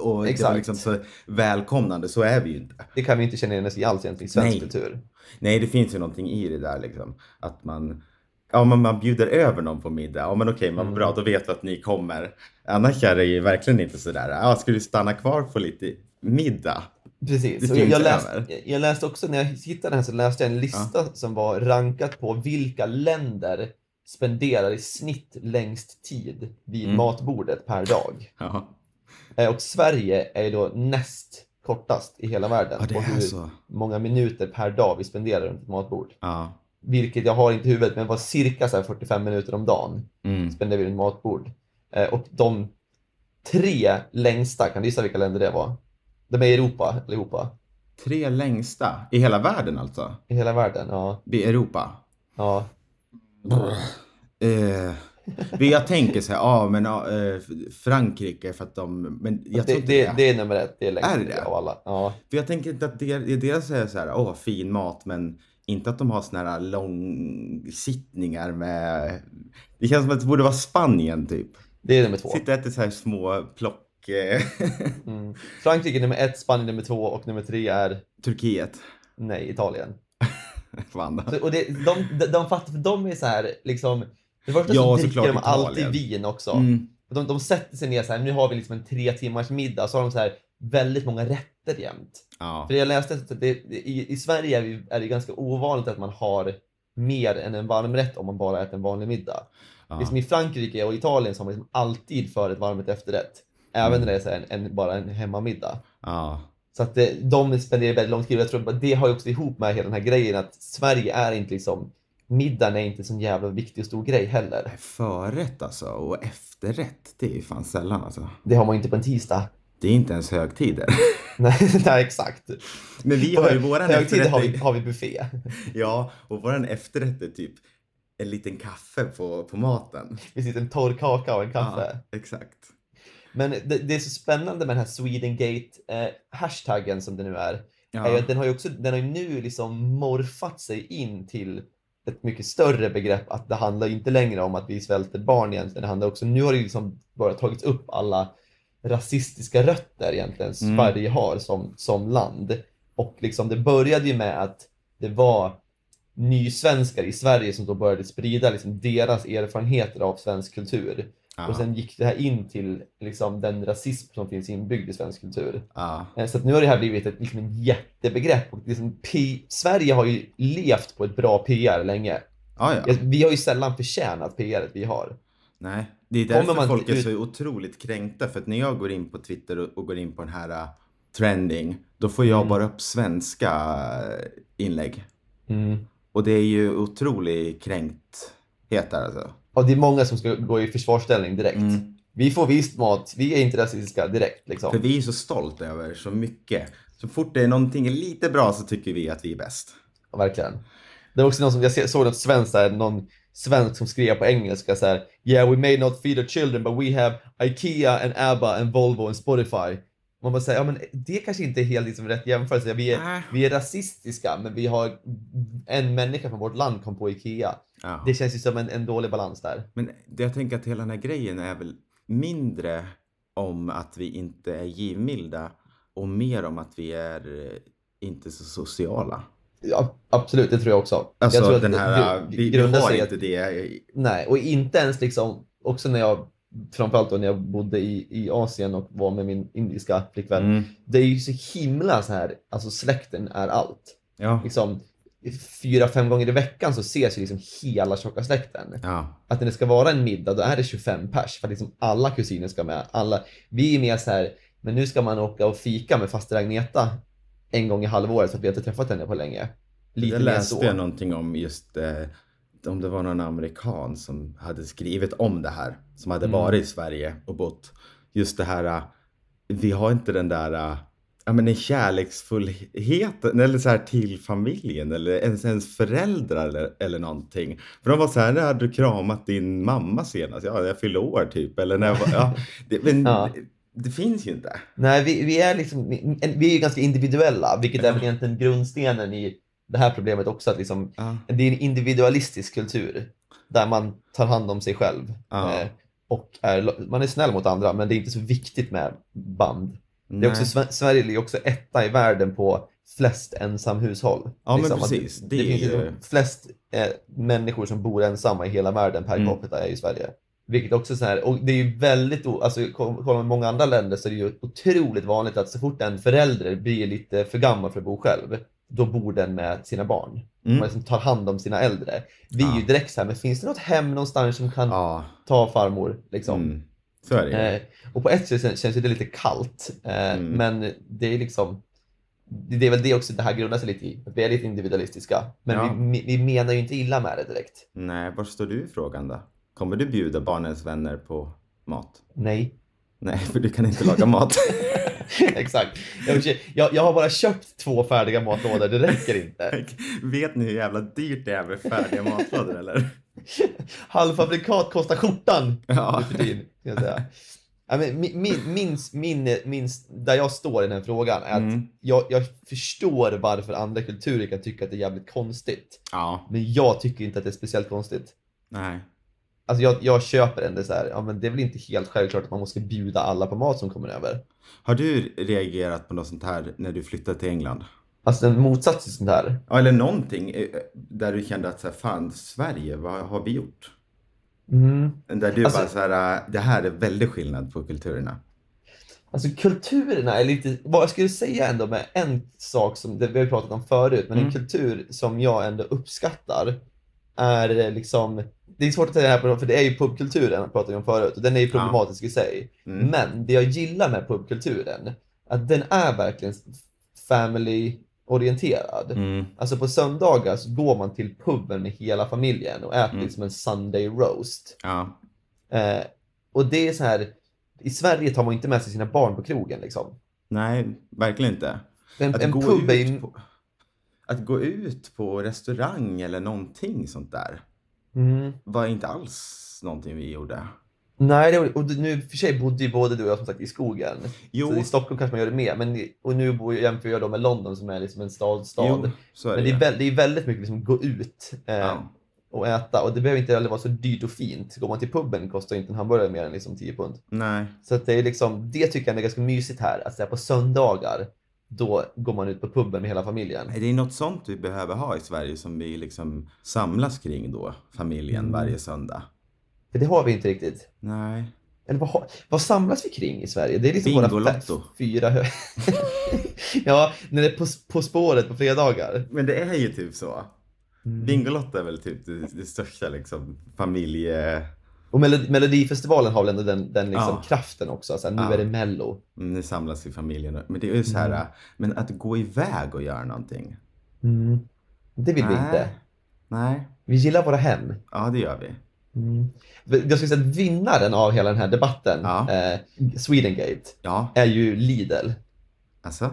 [SPEAKER 1] och det var
[SPEAKER 2] Exakt.
[SPEAKER 1] liksom så välkomnande. Så är vi ju inte.
[SPEAKER 2] Det kan vi inte känna igen oss i alls egentligen i svensk
[SPEAKER 1] Nej.
[SPEAKER 2] kultur.
[SPEAKER 1] Nej, det finns ju någonting i det där liksom. Att man, ja men man bjuder över någon på middag. Ja men okej, men vad bra, då vet vi att ni kommer. Annars är det ju verkligen inte sådär, ja ska du stanna kvar på lite middag?
[SPEAKER 2] Precis.
[SPEAKER 1] Det
[SPEAKER 2] Och jag,
[SPEAKER 1] finns
[SPEAKER 2] jag, läste,
[SPEAKER 1] över.
[SPEAKER 2] jag läste också, när jag hittade den här så läste jag en lista som var rankat på vilka länder spenderar i snitt längst tid vid
[SPEAKER 1] Mm.
[SPEAKER 2] matbordet per dag.
[SPEAKER 1] Ja,
[SPEAKER 2] Eh, Och Sverige är ju då näst kortast i hela världen
[SPEAKER 1] ja det
[SPEAKER 2] på
[SPEAKER 1] är alltså-
[SPEAKER 2] hur
[SPEAKER 1] så.
[SPEAKER 2] många minuter per dag vi spenderar runt ett matbord.
[SPEAKER 1] Ja.
[SPEAKER 2] Vilket jag har inte i huvudet, men var cirka så här 45 minuter om dagen.
[SPEAKER 1] Mm.
[SPEAKER 2] spenderade vi runt matbord. Eh, och de tre längsta, kan du gissa vilka länder det var? De är i Europa allihopa.
[SPEAKER 1] Tre längsta i hela världen alltså?
[SPEAKER 2] I hela världen, ja.
[SPEAKER 1] I Europa?
[SPEAKER 2] ja.
[SPEAKER 1] Eh, det jag tänker så här, ja men ja, eh, Frankrike för att de, men jag tror
[SPEAKER 2] Det,
[SPEAKER 1] inte
[SPEAKER 2] det,
[SPEAKER 1] det.
[SPEAKER 2] det är nummer ett, det är längst
[SPEAKER 1] Är det?
[SPEAKER 2] av alla. Ja.
[SPEAKER 1] För jag tänker inte att det, det deras är så här, åh fin mat men inte att de har såna här långsittningar med, det känns som att det borde vara Spanien typ.
[SPEAKER 2] Det är nummer två.
[SPEAKER 1] Sitta och äta så här små plock, eh,
[SPEAKER 2] Mm. Frankrike är nummer ett, Spanien nummer två och nummer tre är
[SPEAKER 1] Turkiet.
[SPEAKER 2] nej, Italien.
[SPEAKER 1] Fan.
[SPEAKER 2] Så, och det, de, de, de fattar, för de är så här liksom, för det första
[SPEAKER 1] Ja,
[SPEAKER 2] så
[SPEAKER 1] såklart
[SPEAKER 2] dricker de alltid
[SPEAKER 1] Italien.
[SPEAKER 2] vin också.
[SPEAKER 1] Mm.
[SPEAKER 2] De, de sätter sig ner så här, nu har vi liksom en tre timmars middag, så har de så här väldigt många rätter jämt.
[SPEAKER 1] Ja.
[SPEAKER 2] För jag läste att det, det- i, i Sverige är, vi, är det ganska ovanligt att man har mer än en varmrätt om man bara äter en vanlig middag. Liksom
[SPEAKER 1] ja.
[SPEAKER 2] I Frankrike och Italien så har man liksom alltid förrätt, varmrätt, efterrätt. Även
[SPEAKER 1] Mm.
[SPEAKER 2] när det är så här en, en, bara en hemmamiddag.
[SPEAKER 1] ja.
[SPEAKER 2] Så att det, de spenderar väldigt lång tid och jag tror att det har ju också ihop med hela den här grejen att Sverige är inte liksom Middagen är inte en sån jävla viktig och stor grej heller.
[SPEAKER 1] Förrätt alltså och efterrätt, det är ju fan sällan alltså.
[SPEAKER 2] Det har man ju inte på en tisdag.
[SPEAKER 1] Det är inte ens högtider.
[SPEAKER 2] Nej, nej exakt.
[SPEAKER 1] Men vi har ju våran
[SPEAKER 2] Högtider
[SPEAKER 1] efterrätt.
[SPEAKER 2] har vi, har vi buffé.
[SPEAKER 1] Ja, och våran efterrätt är typ en liten kaffe på, på maten.
[SPEAKER 2] Precis, en torr kaka och en kaffe.
[SPEAKER 1] Ja, exakt.
[SPEAKER 2] Men det, det är så spännande med den här Swedengate-hashtaggen som det nu är. är ju
[SPEAKER 1] Ja.
[SPEAKER 2] att den har ju också, den har ju nu liksom morfat sig in till ett mycket större begrepp att det handlar ju inte längre om att vi svälter barn egentligen. Det handlar också, nu har det ju liksom bara tagits upp alla rasistiska rötter egentligen
[SPEAKER 1] Mm.
[SPEAKER 2] Sverige har som, som land. Och liksom det började ju med att det var nysvenskar i Sverige som då började sprida liksom deras erfarenheter av svensk kultur.
[SPEAKER 1] Ja.
[SPEAKER 2] Och sen gick det här in till liksom den rasism som finns inbyggd i svensk kultur.
[SPEAKER 1] ja.
[SPEAKER 2] Eh, Så att nu har det här blivit ett liksom ett jättebegrepp. Och liksom P- Sverige har ju levt på ett bra PR länge.
[SPEAKER 1] Ja, ja.
[SPEAKER 2] Jag- Vi har ju sällan förtjänat PR vi har.
[SPEAKER 1] Nej, det är
[SPEAKER 2] Kommer
[SPEAKER 1] därför
[SPEAKER 2] man
[SPEAKER 1] folk är
[SPEAKER 2] ut-
[SPEAKER 1] så otroligt kränkta. För att när jag går in på Twitter och, och går in på den här eh, trending, då får jag
[SPEAKER 2] Mm.
[SPEAKER 1] bara upp svenska eh, inlägg. Och det är ju otrolig kränkthet där alltså.
[SPEAKER 2] Och det är många som ska gå i försvarsställning direkt.
[SPEAKER 1] Mm.
[SPEAKER 2] Vi får visst mat, vi är inte rasistiska direkt.
[SPEAKER 1] För
[SPEAKER 2] Liksom.
[SPEAKER 1] vi är så stolta över så mycket. Så fort det är någonting lite bra så tycker vi att vi är bäst.
[SPEAKER 2] Verkligen. Det var också någon som, jag såg något svenskt, där, någon svensk som skrev på engelska så här. Yeah, we may not feed our children but we have IKEA and ABBA and Volvo and Spotify. Man bara säger, ja men det kanske inte är helt liksom rätt jämförelse. Vi är,
[SPEAKER 1] Nej.
[SPEAKER 2] vi är rasistiska men vi har en människa från vårt land kom på IKEA.
[SPEAKER 1] Ja.
[SPEAKER 2] Det känns ju som en, en dålig balans där.
[SPEAKER 1] Men det jag tänker att hela den här grejen är väl mindre om att vi inte är givmilda och mer om att vi är eh, inte så sociala.
[SPEAKER 2] Ja, absolut, det tror jag också.
[SPEAKER 1] Alltså
[SPEAKER 2] jag tror att
[SPEAKER 1] den här,
[SPEAKER 2] det-
[SPEAKER 1] vi,
[SPEAKER 2] det
[SPEAKER 1] vi
[SPEAKER 2] grundar sig
[SPEAKER 1] har
[SPEAKER 2] i
[SPEAKER 1] inte det.
[SPEAKER 2] Nej, och inte ens liksom, också när jag, framförallt då när jag bodde i, i Asien och var med min indiska flickvän.
[SPEAKER 1] Mm.
[SPEAKER 2] Det är ju så himla så här, alltså släkten är allt.
[SPEAKER 1] Ja.
[SPEAKER 2] Liksom, fyra, fem gånger i veckan så ses ju liksom hela tjocka släkten.
[SPEAKER 1] ja.
[SPEAKER 2] Att när det ska vara en middag då är det 25 pers för att liksom alla kusiner ska med. Alla, vi är mer så här, men nu ska man åka och fika med faster Agneta en gång i halvåret för att vi har inte träffat henne på länge. Lite
[SPEAKER 1] Jag
[SPEAKER 2] mer
[SPEAKER 1] läste
[SPEAKER 2] så.
[SPEAKER 1] jag någonting om just eh, om det var någon amerikan som hade skrivit om det här. Som hade
[SPEAKER 2] Mm.
[SPEAKER 1] varit i Sverige och bott. Just det här, eh, vi har inte den där eh, ja, men den kärleksfullheten eller så här till familjen eller ens, ens föräldrar eller, eller någonting. För de var så här, när hade du kramat din mamma senast? Ja, när jag fyllde år typ. Eller när jag var, ja, det, men
[SPEAKER 2] Ja.
[SPEAKER 1] Det, det finns ju inte.
[SPEAKER 2] Nej, vi, vi är liksom, vi- en- vi är ju ganska individuella, vilket är väl egentligen grundstenen i det här problemet också. Att liksom, det är en individualistisk kultur där man tar hand om sig själv.
[SPEAKER 1] Ja.
[SPEAKER 2] eh, Och är, man är snäll mot andra, men det är inte så viktigt med band. Det är också,
[SPEAKER 1] Nej.
[SPEAKER 2] Sve- Sverige ligger också etta i världen på flest ensamhushåll. Liksom
[SPEAKER 1] Ja, men
[SPEAKER 2] att
[SPEAKER 1] precis.
[SPEAKER 2] Det,
[SPEAKER 1] Det är
[SPEAKER 2] finns
[SPEAKER 1] ju-
[SPEAKER 2] liksom flest eh, människor som bor ensamma i hela världen per
[SPEAKER 1] Mm.
[SPEAKER 2] capita är i Sverige. Vilket också så här, och det är ju väldigt, o- alltså ko- kollar man i många andra länder så är det ju otroligt vanligt att så fort en förälder blir lite för gammal för att bo själv, då bor den med sina barn. Man
[SPEAKER 1] Mm.
[SPEAKER 2] liksom tar hand om sina äldre. Vi är ju
[SPEAKER 1] Ja.
[SPEAKER 2] direkt så här, men finns det något hem någonstans som kan
[SPEAKER 1] Ja.
[SPEAKER 2] ta farmor? Liksom?
[SPEAKER 1] Mm. Så är det ju.
[SPEAKER 2] Eh, och på ett sätt kän- känns ju det lite kallt. Eh,
[SPEAKER 1] Mm.
[SPEAKER 2] Men det är liksom det det är väl det också det här grundar sig lite i. Att vi är lite individualistiska. Men
[SPEAKER 1] Ja.
[SPEAKER 2] vi, vi menar ju inte illa med det direkt.
[SPEAKER 1] Nej, var står du i frågan då? Kommer du bjuda barnens vänner på mat?
[SPEAKER 2] Nej.
[SPEAKER 1] Nej, för du kan inte laga mat.
[SPEAKER 2] Exakt. Jag, vill säga, jag, jag har bara köpt två färdiga matlådor, det räcker inte.
[SPEAKER 1] Vet ni hur jävla dyrt det är med färdiga matlådor eller?
[SPEAKER 2] Halvfabrikat kostar skjortan
[SPEAKER 1] Ja.
[SPEAKER 2] nu för tiden, kan jag säga. Ja, men Min, min, min, min, min, där jag står i den här frågan är att
[SPEAKER 1] Mm.
[SPEAKER 2] jag, jag förstår varför andra kulturer kan tycka att det är jävligt konstigt.
[SPEAKER 1] Ja,
[SPEAKER 2] Men jag tycker inte att det är speciellt konstigt.
[SPEAKER 1] nej.
[SPEAKER 2] Alltså jag, jag köper ändå så här, ja men det är väl inte helt självklart att man måste bjuda alla på mat som kommer över.
[SPEAKER 1] Har du reagerat på något sånt här när du flyttade till England?
[SPEAKER 2] Alltså en motsats till sånt här.
[SPEAKER 1] Ja, eller någonting eh, där du kände att så här, fan, Sverige, vad har vi gjort? Där du
[SPEAKER 2] Alltså-
[SPEAKER 1] bara så här, äh, det här är väldigt skillnad på kulturerna.
[SPEAKER 2] Alltså kulturerna är lite, vad jag skulle säga ändå med en sak som det vi har pratat om förut, men en
[SPEAKER 1] Mm.
[SPEAKER 2] kultur som jag ändå uppskattar är eh, liksom, det är svårt att säga det här på- för det är ju pubkulturen jag pratade om förut och den är ju problematisk i sig.
[SPEAKER 1] Mm.
[SPEAKER 2] Men det jag gillar med pubkulturen, att den är verkligen family-orienterad.
[SPEAKER 1] Mm.
[SPEAKER 2] Alltså på söndagar så går man till puben med hela familjen och äter
[SPEAKER 1] Mm.
[SPEAKER 2] liksom en Sunday roast.
[SPEAKER 1] Ja.
[SPEAKER 2] Eh, och det är så här, i Sverige tar man inte med sig sina barn på krogen liksom.
[SPEAKER 1] Nej, verkligen inte.
[SPEAKER 2] En,
[SPEAKER 1] Att,
[SPEAKER 2] en
[SPEAKER 1] gå
[SPEAKER 2] pub är ju...
[SPEAKER 1] ut på, att gå ut på restaurang eller någonting sånt där
[SPEAKER 2] Mm.
[SPEAKER 1] var inte alls någonting vi gjorde.
[SPEAKER 2] Nej, det, och nu i och för sig bodde ju både du och jag som sagt i skogen.
[SPEAKER 1] Jo.
[SPEAKER 2] Så i Stockholm kanske man gör det mer. Men, i- och nu bor jag, jämför jag då med London som är liksom en stad, stad.
[SPEAKER 1] Jo, så är
[SPEAKER 2] men
[SPEAKER 1] det ju.
[SPEAKER 2] det är, väl, det är väldigt mycket liksom gå ut eh,
[SPEAKER 1] Ja.
[SPEAKER 2] och äta. Och det behöver inte heller vara så dyrt och fint. Går man till puben kostar ju inte en hamburgare mer än liksom 10 pund.
[SPEAKER 1] Nej.
[SPEAKER 2] Så att det, är liksom, det tycker jag är ganska mysigt här. Att så här, på söndagar, då går man ut på puben med hela familjen.
[SPEAKER 1] Nej, Det är något sånt vi behöver ha i Sverige som vi liksom samlas kring då, familjen
[SPEAKER 2] Mm.
[SPEAKER 1] varje söndag.
[SPEAKER 2] För det har vi inte riktigt.
[SPEAKER 1] Nej.
[SPEAKER 2] Eller vad, har- vad samlas vi kring i Sverige? Det är liksom våra fe-
[SPEAKER 1] Bingolotto.
[SPEAKER 2] fyra hö- Ja, när det är på, på spåret på fredagar.
[SPEAKER 1] Men det är ju typ så. Mm. Bingolotto är väl typ det, det största liksom familje...
[SPEAKER 2] Och Melo- Melodifestivalen har väl ändå den, den liksom
[SPEAKER 1] Ja.
[SPEAKER 2] kraften också. Så här, nu
[SPEAKER 1] Ja.
[SPEAKER 2] är det Mello.
[SPEAKER 1] Mm, Ni samlas i familjen. och- Men det är ju så här,
[SPEAKER 2] Mm.
[SPEAKER 1] men att gå iväg och göra någonting.
[SPEAKER 2] Det vill vi
[SPEAKER 1] Nej.
[SPEAKER 2] inte.
[SPEAKER 1] Nej.
[SPEAKER 2] Vi gillar våra hem.
[SPEAKER 1] Ja, det gör vi.
[SPEAKER 2] Jag skulle säga att vinnaren av hela den här debatten,
[SPEAKER 1] Ja.
[SPEAKER 2] eh, Swedengate,
[SPEAKER 1] Ja,
[SPEAKER 2] är ju Lidl.
[SPEAKER 1] alltså.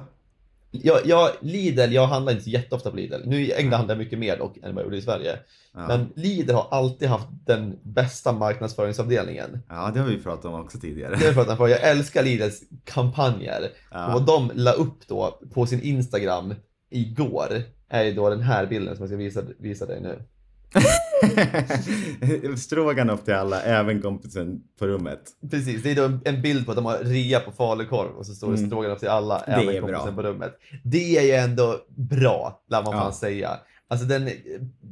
[SPEAKER 2] Jag, jag, Lidl, jag handlar inte så jätteofta på Lidl. Nu ägnar handlar jag mycket mer dock än vad jag gjorde i Sverige.
[SPEAKER 1] Ja.
[SPEAKER 2] Men Lidl har alltid haft den bästa marknadsföringsavdelningen.
[SPEAKER 1] ja, det har vi pratat om också tidigare.
[SPEAKER 2] Det är för att jag älskar Lidls kampanjer. Och vad
[SPEAKER 1] Ja.
[SPEAKER 2] de la upp då på sin Instagram igår är ju då den här bilden som jag ska visa, visa dig nu.
[SPEAKER 1] Stroganoff till alla, även kompisen på rummet.
[SPEAKER 2] Precis, det är då en, en bild på att de har rea på falukorv och så står det
[SPEAKER 1] Mm.
[SPEAKER 2] stroganoff till alla,
[SPEAKER 1] Det är
[SPEAKER 2] även
[SPEAKER 1] bra.
[SPEAKER 2] kompisen på rummet. Det är ju ändå bra, lär man
[SPEAKER 1] Ja.
[SPEAKER 2] fan säga. Alltså den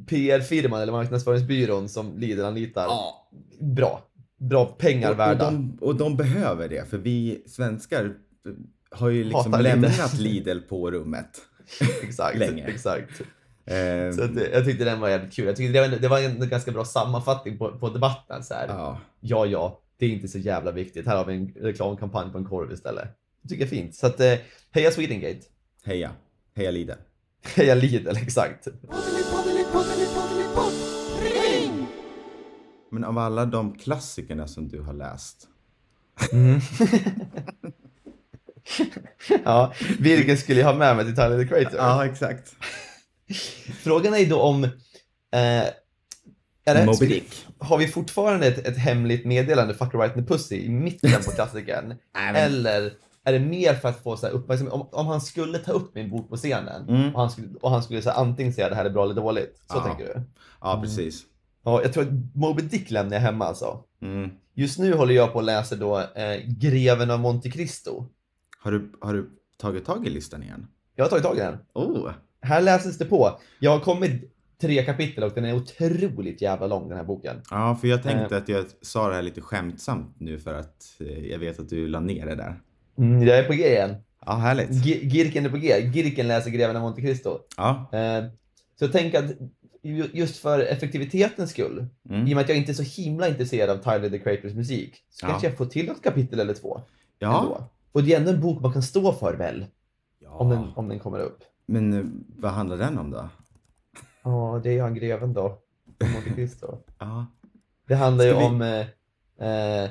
[SPEAKER 2] PR-firman eller marknadsföringsbyrån som Lidl anlitar,
[SPEAKER 1] Ja,
[SPEAKER 2] bra. Bra pengar
[SPEAKER 1] Och-
[SPEAKER 2] värda.
[SPEAKER 1] Och de, och de behöver det, för vi svenskar eh, har ju liksom
[SPEAKER 2] Hatar Lidl.
[SPEAKER 1] lämnat Lidl på rummet.
[SPEAKER 2] Exakt,
[SPEAKER 1] länge.
[SPEAKER 2] exakt.
[SPEAKER 1] Eh,
[SPEAKER 2] Så att, eh, jag tyckte den var jävligt kul. Jag tyckte det var en, det var en ganska bra sammanfattning på, på debatten. Så här.
[SPEAKER 1] ja.
[SPEAKER 2] ja, ja, det är inte så jävla viktigt. Här har vi en reklamkampanj på en korv istället. Det tycker jag är fint. Så att, eh, heja Swedengate.
[SPEAKER 1] Heja. Heja Lidl.
[SPEAKER 2] Heja Lidl, exakt.
[SPEAKER 1] Men av alla de klassikerna som du har läst.
[SPEAKER 2] ja, vilken skulle jag ha med mig till Tyler the Creator?
[SPEAKER 1] exakt.
[SPEAKER 2] Frågan är ju då om... Eh, är det,
[SPEAKER 1] Moby
[SPEAKER 2] skulle,
[SPEAKER 1] Dick.
[SPEAKER 2] har vi fortfarande ett, ett hemligt meddelande, Fuck right in the pussy, i mitten på klassikern?
[SPEAKER 1] Nej, men-
[SPEAKER 2] Eller är det mer för att få så här uppmärksamhet? Om, om han skulle ta upp min bok på scenen
[SPEAKER 1] Mm.
[SPEAKER 2] och han skulle, och han skulle så här, antingen säga det här är bra eller dåligt. Så
[SPEAKER 1] Ja.
[SPEAKER 2] tänker du?
[SPEAKER 1] Ja, precis.
[SPEAKER 2] Ja, jag tror att Moby Dick lämnar jag hemma alltså.
[SPEAKER 1] Mm.
[SPEAKER 2] Just nu håller jag på och läser då eh, Greven av Monte Cristo.
[SPEAKER 1] Har, du, har du tagit tag i listan igen?
[SPEAKER 2] Jag har tagit tag i den.
[SPEAKER 1] Oh,
[SPEAKER 2] Här läses det på. Jag har kommit tre kapitel och den är otroligt jävla lång den här boken.
[SPEAKER 1] ja, för jag
[SPEAKER 2] Eh.
[SPEAKER 1] tänkte att jag sa det här lite skämtsamt nu för att eh, jag vet att du la ner det där.
[SPEAKER 2] Mm, jag är på G igen.
[SPEAKER 1] Ja, härligt.
[SPEAKER 2] G- Girken är på G. Girken läser Greven av Monte Cristo.
[SPEAKER 1] Ja.
[SPEAKER 2] Eh, så jag tänker att ju- just för effektivitetens skull, i och
[SPEAKER 1] Mm.
[SPEAKER 2] med att jag inte är så himla intresserad av Tyler the Creators musik, så
[SPEAKER 1] Ja.
[SPEAKER 2] kanske jag får till ett kapitel eller två.
[SPEAKER 1] Ja.
[SPEAKER 2] Ändå. Och det är ändå en bok man kan stå för väl, om, den,
[SPEAKER 1] ja.
[SPEAKER 2] om den kommer upp.
[SPEAKER 1] Men eh, vad handlar den om då?
[SPEAKER 2] Ja, det är han greven då. från Monte Cristo.
[SPEAKER 1] Ja.
[SPEAKER 2] Det handlar ju
[SPEAKER 1] Ska vi-
[SPEAKER 2] om... Eh, eh,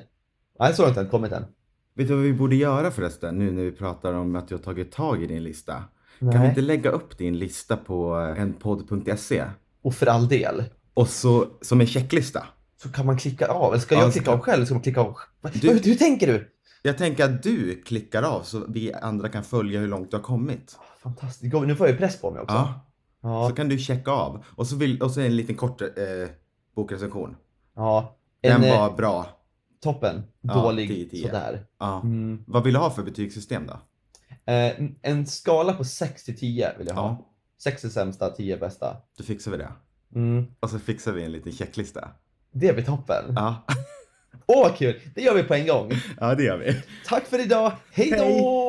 [SPEAKER 2] nej, så har inte den kommit än.
[SPEAKER 1] Vet du vad vi borde göra förresten nu när vi pratar om att du har tagit tag i din lista? Kan vi
[SPEAKER 2] Nej.
[SPEAKER 1] inte lägga upp din lista på eh, enpodd.se?
[SPEAKER 2] Och för all del,
[SPEAKER 1] Och så som en checklista.
[SPEAKER 2] så kan man klicka av. Eller ska
[SPEAKER 1] Ja,
[SPEAKER 2] jag
[SPEAKER 1] ska-
[SPEAKER 2] klicka av själv? eller Ska man klicka av?
[SPEAKER 1] Du-
[SPEAKER 2] Hur, hur tänker du?
[SPEAKER 1] Jag tänker att du klickar av så vi andra kan följa hur långt du har kommit.
[SPEAKER 2] Ah, Fantastiskt. Gud, Nu får jag ju press på mig också.
[SPEAKER 1] Ja,
[SPEAKER 2] Ja.
[SPEAKER 1] så kan du checka av. Och så, vill, och så en liten kort eh, bokrecension.
[SPEAKER 2] ja. En
[SPEAKER 1] Den
[SPEAKER 2] eh,
[SPEAKER 1] var bra.
[SPEAKER 2] toppen,
[SPEAKER 1] Ja,
[SPEAKER 2] dålig,
[SPEAKER 1] 10-10.
[SPEAKER 2] sådär.
[SPEAKER 1] Ja.
[SPEAKER 2] Mm.
[SPEAKER 1] Vad vill du ha för betygssystem då?
[SPEAKER 2] Eh, en- en skala på 6 till 10 vill jag ha.
[SPEAKER 1] Ja,
[SPEAKER 2] 6 är sämsta, 10 är bästa.
[SPEAKER 1] då fixar vi det.
[SPEAKER 2] Mm.
[SPEAKER 1] Och så fixar vi en liten checklista.
[SPEAKER 2] Det blir toppen.
[SPEAKER 1] Ja,
[SPEAKER 2] Åh, vad kul! Det gör vi på en gång.
[SPEAKER 1] ja det gör vi.
[SPEAKER 2] Tack för idag. Hej då!
[SPEAKER 1] Hej.